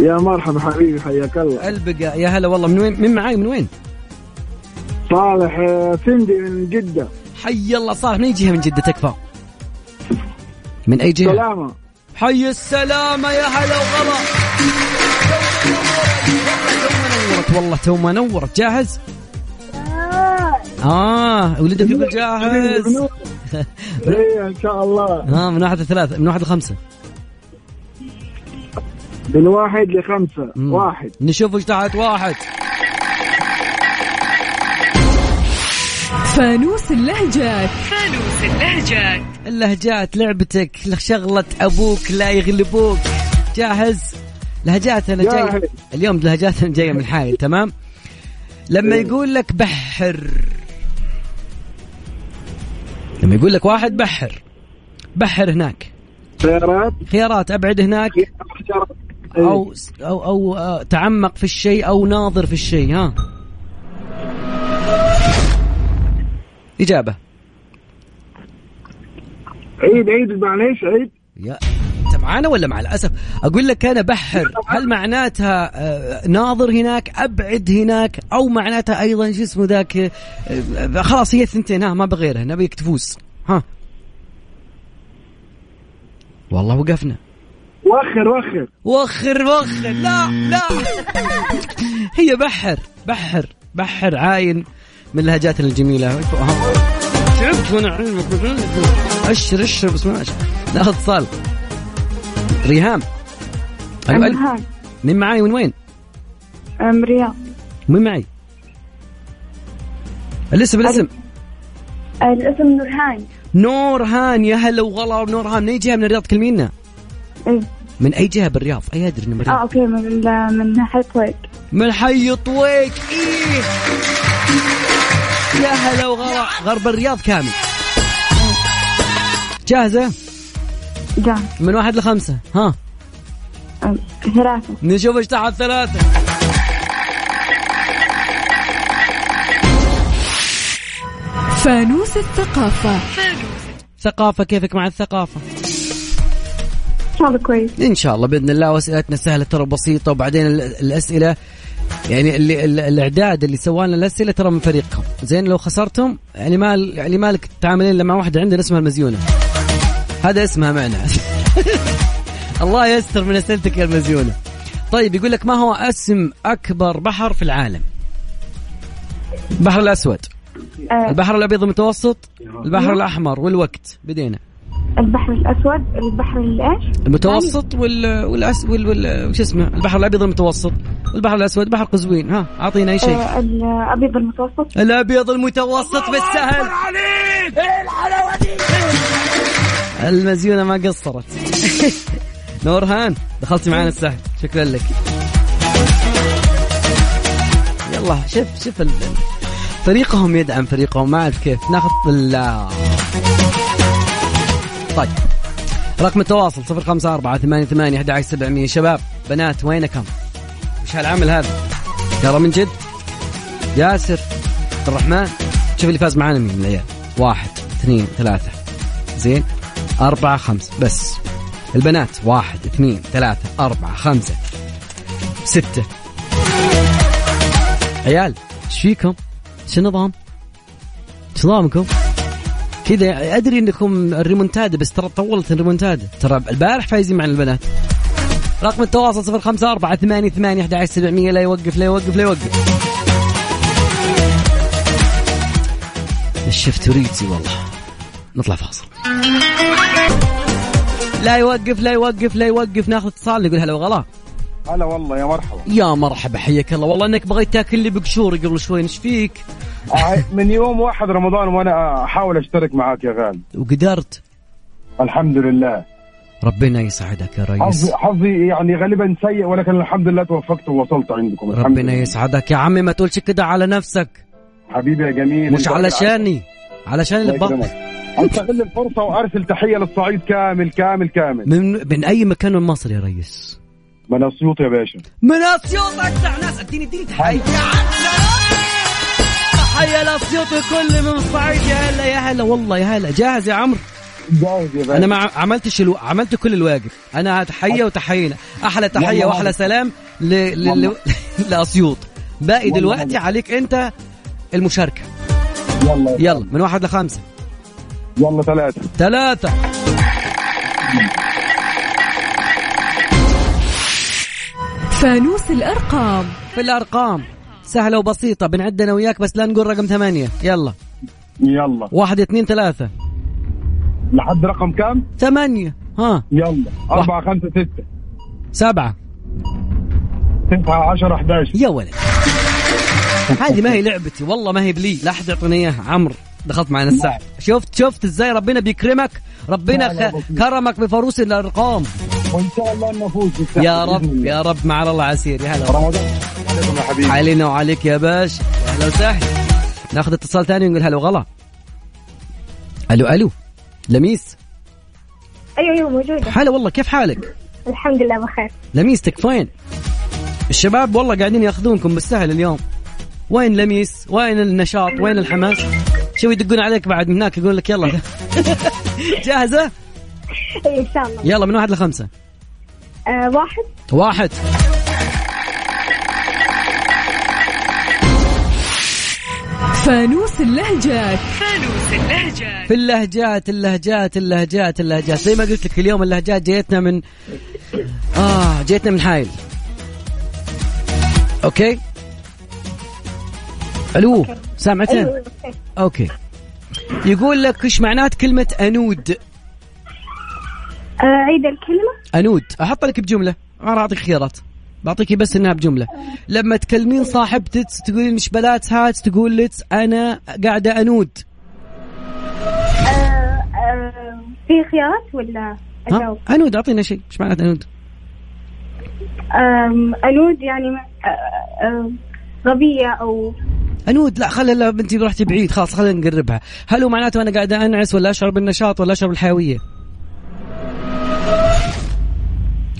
Speaker 22: يا مرحبا حبيبي حياك الله
Speaker 4: البقى يا هلا والله من وين من معاي من وين
Speaker 22: صالح آه، سندي من جدة
Speaker 4: حي الله صالح من اي جهه من جده تكفى من اي جهه
Speaker 22: سلامة
Speaker 4: حي السلامة يا هلا وغلا نورت والله تو ما نورت جاهز اه ولدك يقول جاهز
Speaker 22: ايه ان شاء الله
Speaker 4: اه من واحد لثلاثة من واحد لخمسة
Speaker 22: من واحد لخمسة واحد
Speaker 4: نشوف ايش تحت واحد
Speaker 5: فانوس اللهجات فانوس اللهجات
Speaker 4: اللهجات لعبتك شغلة أبوك لا يغلبوك جاهز لهجات أنا جاي
Speaker 22: جاهز.
Speaker 4: اليوم لهجات أنا جاية من حالي تمام لما يقول لك بحر لما يقول لك واحد بحر بحر هناك
Speaker 22: خيارات
Speaker 4: خيارات أبعد هناك
Speaker 16: إيه.
Speaker 4: أو أو أو آه، تعمق في الشيء أو ناظر في الشيء ها إجابة
Speaker 22: عيد عيد معليش عيد
Speaker 4: يا انت معانا ولا مع الاسف؟ اقول لك انا بحر هل معناتها آه، ناظر هناك ابعد هناك او معناتها ايضا شو اسمه ذاك آه، آه، خلاص هي ثنتين ها ما بغيرها نبيك تفوز ها والله وقفنا
Speaker 22: وخر وخر
Speaker 4: وخر وخر لا لا هي بحر بحر بحر عاين من اللهجات الجميله تعبت وانا اعلمك اشر اشر بس ما أشر. لا اتصال ريهام أيوة، ألو.
Speaker 7: أمهات.
Speaker 4: مين معاي من وين؟
Speaker 7: أم رياض
Speaker 4: مين معي؟ الاسم الاسم
Speaker 7: آه، الاسم نورهان
Speaker 4: نورهان يا هلا وغلا نورهان من اي جهه من الرياض كلمينا؟
Speaker 7: إيه.
Speaker 4: من اي جهه بالرياض؟ اي ادري انه من
Speaker 7: اه
Speaker 4: الرياض
Speaker 7: اوكي من ال- من حيث ويك
Speaker 4: من حي طويق ايه يا هلا وغلا غرب الرياض كامل جاهزه؟
Speaker 7: جان
Speaker 4: من واحد لخمسه ها
Speaker 7: ثلاثة
Speaker 4: نشوف ايش تحت ثلاثة
Speaker 5: فانوس الثقافة
Speaker 4: ثقافة كيفك مع الثقافة؟
Speaker 7: إن شاء الله كويس
Speaker 4: ان شاء الله باذن الله واسئلتنا سهله ترى بسيطه وبعدين ال- الاسئله يعني اللي ال- الاعداد اللي سوى لنا الاسئله ترى من فريقكم زين لو خسرتم يعني ما يعني مالك تعاملين الا مع واحده عندنا اسمها المزيونه هذا اسمها معنا الله يستر من اسئلتك يا المزيونه طيب يقول لك ما هو اسم اكبر بحر في العالم البحر الاسود البحر الابيض المتوسط البحر الاحمر والوقت بدينا
Speaker 7: البحر الأسود البحر الإيش؟
Speaker 4: المتوسط وال والأس وال, وال... وش اسمه البحر الابيض المتوسط والبحر الاسود بحر قزوين ها اعطينا اي شيء
Speaker 7: آه، الأبيض المتوسط
Speaker 4: الابيض المتوسط بالسهل
Speaker 7: إيه الحلاوة دي
Speaker 4: المزيونه ما قصرت نورهان دخلتي معانا السهل شكرا لك يلا شوف شوف ال... فريقهم يدعم فريقهم ما اعرف كيف ناخذ ال طيب رقم التواصل 0548811700 شباب بنات وينكم؟ وش هالعمل هذا؟ ترى من جد ياسر عبد الرحمن شوف اللي فاز معانا مين من العيال واحد اثنين ثلاثة زين أربعة خمسة بس البنات واحد اثنين ثلاثة أربعة خمسة ستة عيال ايش فيكم؟ شو النظام؟ شو نظامكم؟ كذا ادري انكم الريمونتادا بس ترى طولت الريمونتادا ترى البارح فايزين معنا البنات رقم التواصل 054 88 11700 لا يوقف لا يوقف لا يوقف الشفتوريتي والله نطلع فاصل لا يوقف لا يوقف لا يوقف ناخذ اتصال نقول هلا وغلا
Speaker 10: هلا والله يا مرحبا
Speaker 4: يا مرحبا حياك الله والله انك بغيت تاكل لي بقشوري قبل شوي ايش فيك؟
Speaker 10: آه، من يوم واحد رمضان وانا احاول اشترك معاك يا غالي
Speaker 4: وقدرت
Speaker 10: الحمد لله
Speaker 4: ربنا يسعدك يا ريس
Speaker 10: حظي حظي يعني غالبا سيء ولكن الحمد لله توفقت ووصلت عندكم الحمد
Speaker 4: ربنا يسعدك يا عمي ما تقولش كده على نفسك
Speaker 10: حبيبي يا جميل
Speaker 4: مش علشاني علشان اللي
Speaker 10: الله
Speaker 4: ببطل
Speaker 10: يكرمك. استغل الفرصه وارسل تحيه للصعيد كامل كامل كامل
Speaker 4: من من اي مكان من مصر يا ريس
Speaker 10: من اسيوط يا باشا
Speaker 4: من اسيوط اجدع ناس اديني اديني تحيه تحيه لاسيوط الكل من الصعيد يا هلا يا هلا والله يا هلا جاهز يا عمرو
Speaker 10: جاهز يا باشا
Speaker 4: انا ما عملتش الو... عملت كل الواجب انا تحيه وتحيينا احلى تحيه
Speaker 10: والله
Speaker 4: واحلى
Speaker 10: العظيم.
Speaker 4: سلام ل... ل... ل...
Speaker 10: والله.
Speaker 4: لاسيوط باقي
Speaker 10: والله
Speaker 4: دلوقتي
Speaker 10: العظيم.
Speaker 4: عليك انت المشاركه
Speaker 10: يلا
Speaker 4: يلا من واحد لخمسه
Speaker 10: يلا ثلاثه
Speaker 4: ثلاثة
Speaker 5: فانوس الأرقام
Speaker 4: في الأرقام سهلة وبسيطة بنعد أنا وياك بس لا نقول رقم ثمانية يلا
Speaker 10: يلا
Speaker 4: واحد اثنين ثلاثة
Speaker 10: لحد رقم كام؟
Speaker 4: ثمانية ها
Speaker 10: يلا أربعة خمسة ستة
Speaker 4: سبعة
Speaker 10: تسعة عشرة 11
Speaker 4: يا ولد هذه ما هي لعبتي والله ما هي بلي لا أحد يعطيني إياها عمرو دخلت معنا السحب شفت شفت ازاي ربنا بيكرمك ربنا خ... كرمك بفاروس الارقام
Speaker 10: وان شاء الله انه فوز
Speaker 4: يا رب يا رب مع الله عسير يا هلا والله.
Speaker 10: رمضان عليكم يا حبيبي
Speaker 4: علينا وعليك يا باشا يا اهلا وسهلا ناخذ اتصال ثاني ونقول هلا وغلا الو الو لميس
Speaker 7: أيوه أيوه موجودة
Speaker 4: هلا والله كيف حالك؟
Speaker 7: الحمد لله بخير
Speaker 4: لميستك فين؟ الشباب والله قاعدين ياخذونكم بالسهل اليوم وين لميس؟ وين النشاط؟ وين الحماس؟ شو يدقون عليك بعد من هناك يقول لك يلا جاهزة؟
Speaker 7: أي إن شاء الله
Speaker 4: يلا من واحد لخمسة
Speaker 7: آه، واحد
Speaker 4: واحد
Speaker 5: فانوس اللهجات فانوس اللهجات
Speaker 4: في اللهجات اللهجات اللهجات اللهجات زي ما قلت لك اليوم اللهجات جيتنا من اه جيتنا من حايل اوكي الو سامعتين
Speaker 7: أيوه، أوكي.
Speaker 4: اوكي يقول لك ايش معنات كلمة انود
Speaker 7: آه، عيد الكلمة
Speaker 4: انود احط لك بجمله انا اعطيك خيارات بعطيك بس انها بجمله لما تكلمين صاحبتك تقولين مش بلات هات تقول لك انا قاعده انود
Speaker 7: آه، في خيارات ولا
Speaker 4: ها؟
Speaker 7: أجاوب؟
Speaker 4: انود اعطينا شيء ايش معناته انود
Speaker 7: آم، أنود يعني آه، آه، غبية أو
Speaker 4: انود لا خلي لا بنتي رحتي بعيد خلاص خلينا نقربها هل هو معناته انا قاعده انعس ولا اشعر بالنشاط ولا اشعر بالحيويه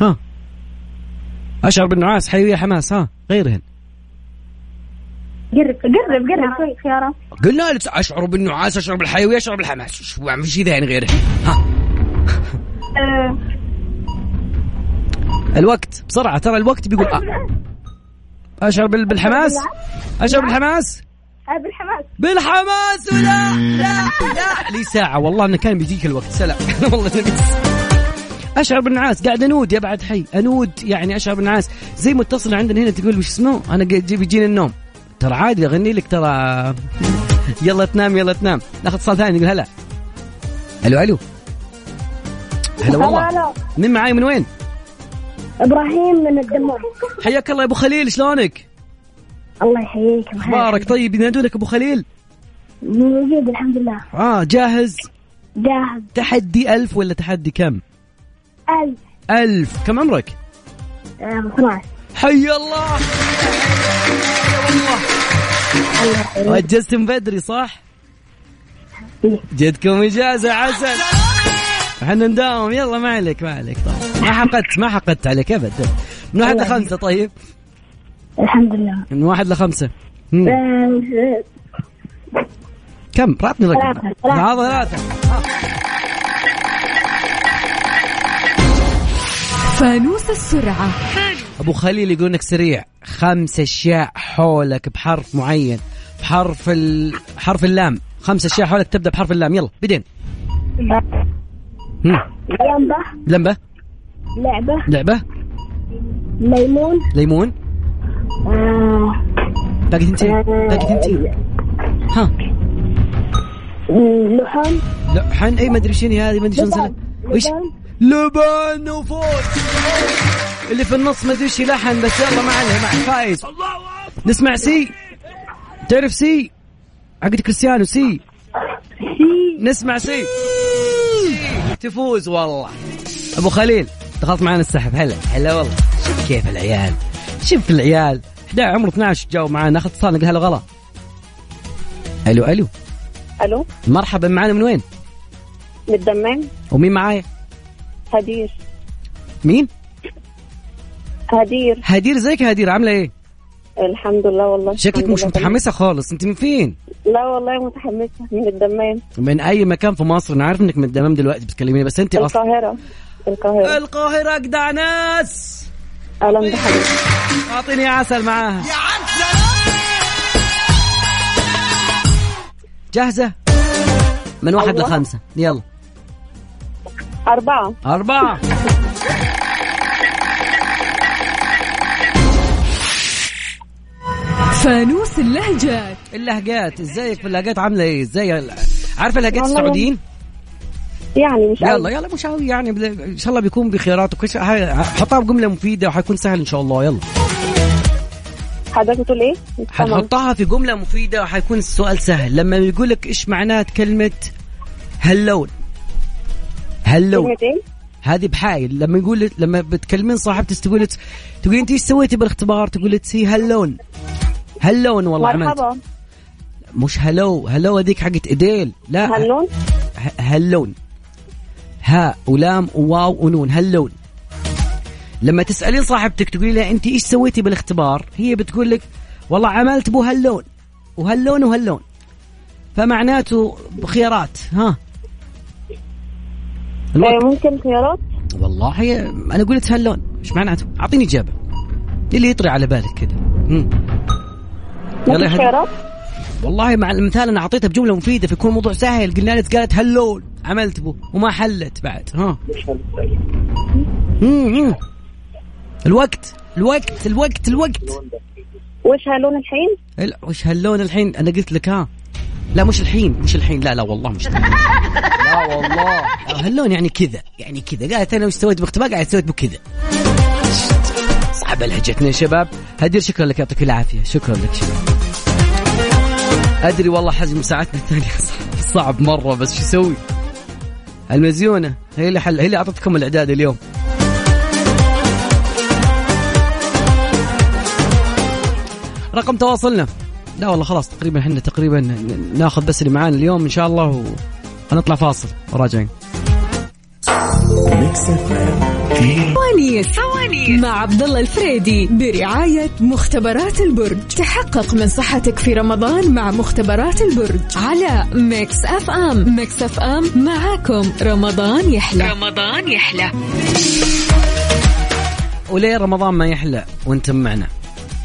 Speaker 4: ها اشعر بالنعاس حيويه حماس ها غيرهن
Speaker 7: قرب قرب
Speaker 4: نعم.
Speaker 7: قرب شوي خيارات
Speaker 4: قلنا لك اشعر بالنعاس اشعر بالحيويه اشعر بالحماس شو ما في شيء ثاني غيره ها
Speaker 7: آه،
Speaker 4: الوقت بسرعه ترى الوقت بيقول أ- اشعر بال- بالحماس اشعر بالحماس
Speaker 7: آه، بالحماس
Speaker 4: بالحماس ولا لا لا لي ساعه والله انه كان بيجيك الوقت سلام والله نبي اشعر بالنعاس قاعد انود يا بعد حي انود يعني اشعر بالنعاس زي متصل عندنا هنا تقول وش اسمه انا قاعد- جي- بيجيني النوم ترى عادي اغني لك ترى يلا تنام يلا تنام ناخذ اتصال ثاني نقول هلا الو الو هلا والله
Speaker 7: هلا.
Speaker 4: مين معاي من وين؟
Speaker 7: إبراهيم من الدمام
Speaker 4: حياك الله يا ابو خليل شلونك؟
Speaker 7: الله يحييك
Speaker 4: اخبارك طيب ينادونك ابو خليل؟
Speaker 7: موجود الحمد لله
Speaker 4: اه جاهز؟
Speaker 7: جاهز
Speaker 4: تحدي ألف ولا تحدي كم؟
Speaker 7: ألف
Speaker 4: ألف كم عمرك؟
Speaker 7: آه، 12
Speaker 4: حي الله وجزت من بدري صح؟
Speaker 7: إيه.
Speaker 4: جدكم اجازه عسل احنا نداوم يلا ما عليك ما عليك طيب ما حقدت ما حقدت عليك ابدا من واحد لخمسه طيب
Speaker 7: الحمد لله
Speaker 4: من واحد لخمسه مم.
Speaker 7: آه،
Speaker 4: كم؟ راتني رقم
Speaker 7: ثلاثة، ثلاثة.
Speaker 4: مع ثلاثة
Speaker 5: فانوس السرعة
Speaker 4: ابو خليل يقول انك سريع خمس اشياء حولك بحرف معين بحرف ال... حرف اللام خمس اشياء حولك تبدا بحرف اللام يلا بدين هم.
Speaker 7: لمبة
Speaker 4: لمبه
Speaker 7: لعبة
Speaker 4: لعبه
Speaker 7: ليمون
Speaker 4: ليمون
Speaker 7: آه،
Speaker 4: باقي ثنتين باقي ثنتين ها
Speaker 7: لحم
Speaker 4: لحن اي ما ادري شنو هذه ما ادري شنو نسلها. وش لبن وفوت اللي في النص ما ادري شي لحن بس يلا ما عليه ما عليه فايز نسمع سي تعرف سي عقد كريستيانو سي نسمع سي تفوز والله ابو خليل دخلت معانا السحب هلا هلا والله شوف كيف العيال شوف العيال 11 عمره 12 جاوب معانا اخذ اتصال نقول هلا غلا الو الو
Speaker 8: الو
Speaker 4: مرحبا معانا من وين؟
Speaker 8: من الدمام
Speaker 4: ومين معايا؟
Speaker 8: هدير
Speaker 4: مين؟
Speaker 8: هدير
Speaker 4: هدير زيك يا هدير عامله ايه؟
Speaker 8: الحمد لله والله
Speaker 4: شكلك
Speaker 8: الحمد
Speaker 4: مش
Speaker 8: لله.
Speaker 4: متحمسه خالص انت من فين؟
Speaker 8: لا والله متحمسه من الدمام
Speaker 4: من اي مكان في مصر انا عارف انك من الدمام دلوقتي بتكلميني بس انت اصلا
Speaker 8: القاهره القاهره
Speaker 4: القاهره اجدع ناس
Speaker 8: اهلا بحضرتك
Speaker 4: اعطيني عسل معاها جاهزه؟ من واحد
Speaker 8: أيوة.
Speaker 4: لخمسه يلا
Speaker 8: اربعه
Speaker 4: أربعة
Speaker 5: فانوس اللهجات
Speaker 4: اللهجات ازيك في اللهجات عامله ايه؟ ازاي ال- عارفه اللهجات
Speaker 8: والله
Speaker 4: السعوديين؟
Speaker 8: يعني مش
Speaker 4: يلا
Speaker 8: أوي.
Speaker 4: يلا مش قوي يعني بل- ان شاء الله بيكون بخيارات وكل شيء هاي- حطها بجمله مفيده وحيكون سهل ان شاء الله يلا
Speaker 8: حضرتك بتقول ايه؟ مش سامعة.
Speaker 4: حنحطها في جمله مفيده وحيكون السؤال سهل لما يقول لك ايش معناه كلمه هلون هلون
Speaker 8: كلمة ايه؟
Speaker 4: هذه بحايل لما يقول لما بتكلمين صاحبتك تقول تقول انت ايش سويتي بالاختبار تقول هي هلون هلون والله عملت
Speaker 8: مرحبا
Speaker 4: مش هلو هلو هذيك حقت ايديل لا
Speaker 8: هلون
Speaker 4: ه- هلون ها ولام وواو ونون هلون لما تسالين صاحبتك تقولي لها انت ايش سويتي بالاختبار هي بتقول لك والله عملت بو هلون وهلون وهلون فمعناته خيارات ها
Speaker 8: آه، ممكن خيارات
Speaker 4: والله هي انا قلت هلون ايش معناته اعطيني اجابه اللي يطري على بالك كذا مم. يا
Speaker 8: ممكن
Speaker 4: هدى.
Speaker 8: خيارات
Speaker 4: والله مع المثال انا اعطيتها بجمله مفيده فيكون الموضوع سهل قلنا لك قالت هلول عملت به وما حلت بعد ها مم، مم. الوقت الوقت الوقت الوقت
Speaker 8: وش هلون الحين؟
Speaker 4: إيه، ال- وش هاللون الحين انا قلت لك ها لا مش الحين مش الحين لا لا والله مش الحين. لا والله هلون يعني كذا يعني كذا قالت انا وش سويت باختبار قاعد سويت بكذا صعبه لهجتنا يا شباب هدير شكرا لك يعطيك العافيه شكرا لك شباب ادري والله حجم ساعتنا الثانيه صعب, صعب مره بس شو اسوي المزيونه هي اللي حل... هي اللي اعطتكم الاعداد اليوم رقم تواصلنا لا والله خلاص تقريبا احنا تقريبا ناخذ بس اللي معانا اليوم ان شاء الله ونطلع فاصل وراجعين
Speaker 5: فوانيس فوانيس مع عبد الله الفريدي برعاية مختبرات البرج تحقق من صحتك في رمضان مع مختبرات البرج على ميكس اف ام ميكس اف ام معاكم رمضان يحلى رمضان يحلى
Speaker 4: وليه رمضان ما يحلى وانتم معنا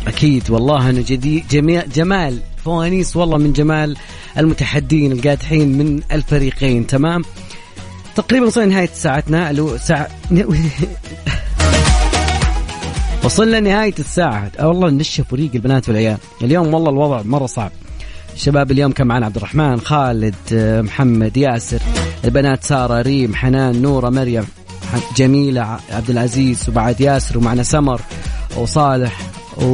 Speaker 4: اكيد والله انه جدي جميع جمال فوانيس والله من جمال المتحدين القادحين من الفريقين تمام تقريبا وصلنا نهايه ساعتنا الو ساعة وصلنا نهاية الساعة آه والله نشف فريق البنات والعيال اليوم والله الوضع مرة صعب الشباب اليوم كان معنا عبد الرحمن خالد آه، محمد ياسر البنات سارة ريم حنان نورة مريم ح- جميلة ع- عبد العزيز وبعد ياسر ومعنا سمر وصالح و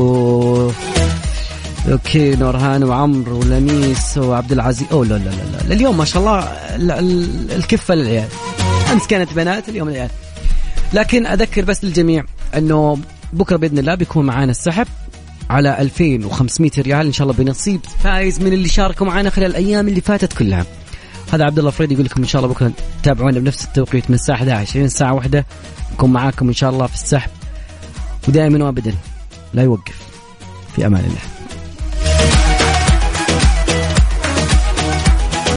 Speaker 4: اوكي نورهان وعمرو ولميس وعبد العزيز او لا لا لا لا اليوم ما شاء الله ال- ال- الكفه للعيال امس كانت بنات اليوم العيال لكن اذكر بس للجميع انه بكره باذن الله بيكون معانا السحب على 2500 ريال ان شاء الله بنصيب فايز من اللي شاركوا معانا خلال الايام اللي فاتت كلها هذا عبد الله فريد يقول لكم ان شاء الله بكره تابعونا بنفس التوقيت من الساعه 11 الى الساعه 1 نكون معاكم ان شاء الله في السحب ودائما وابدا لا يوقف في امان الله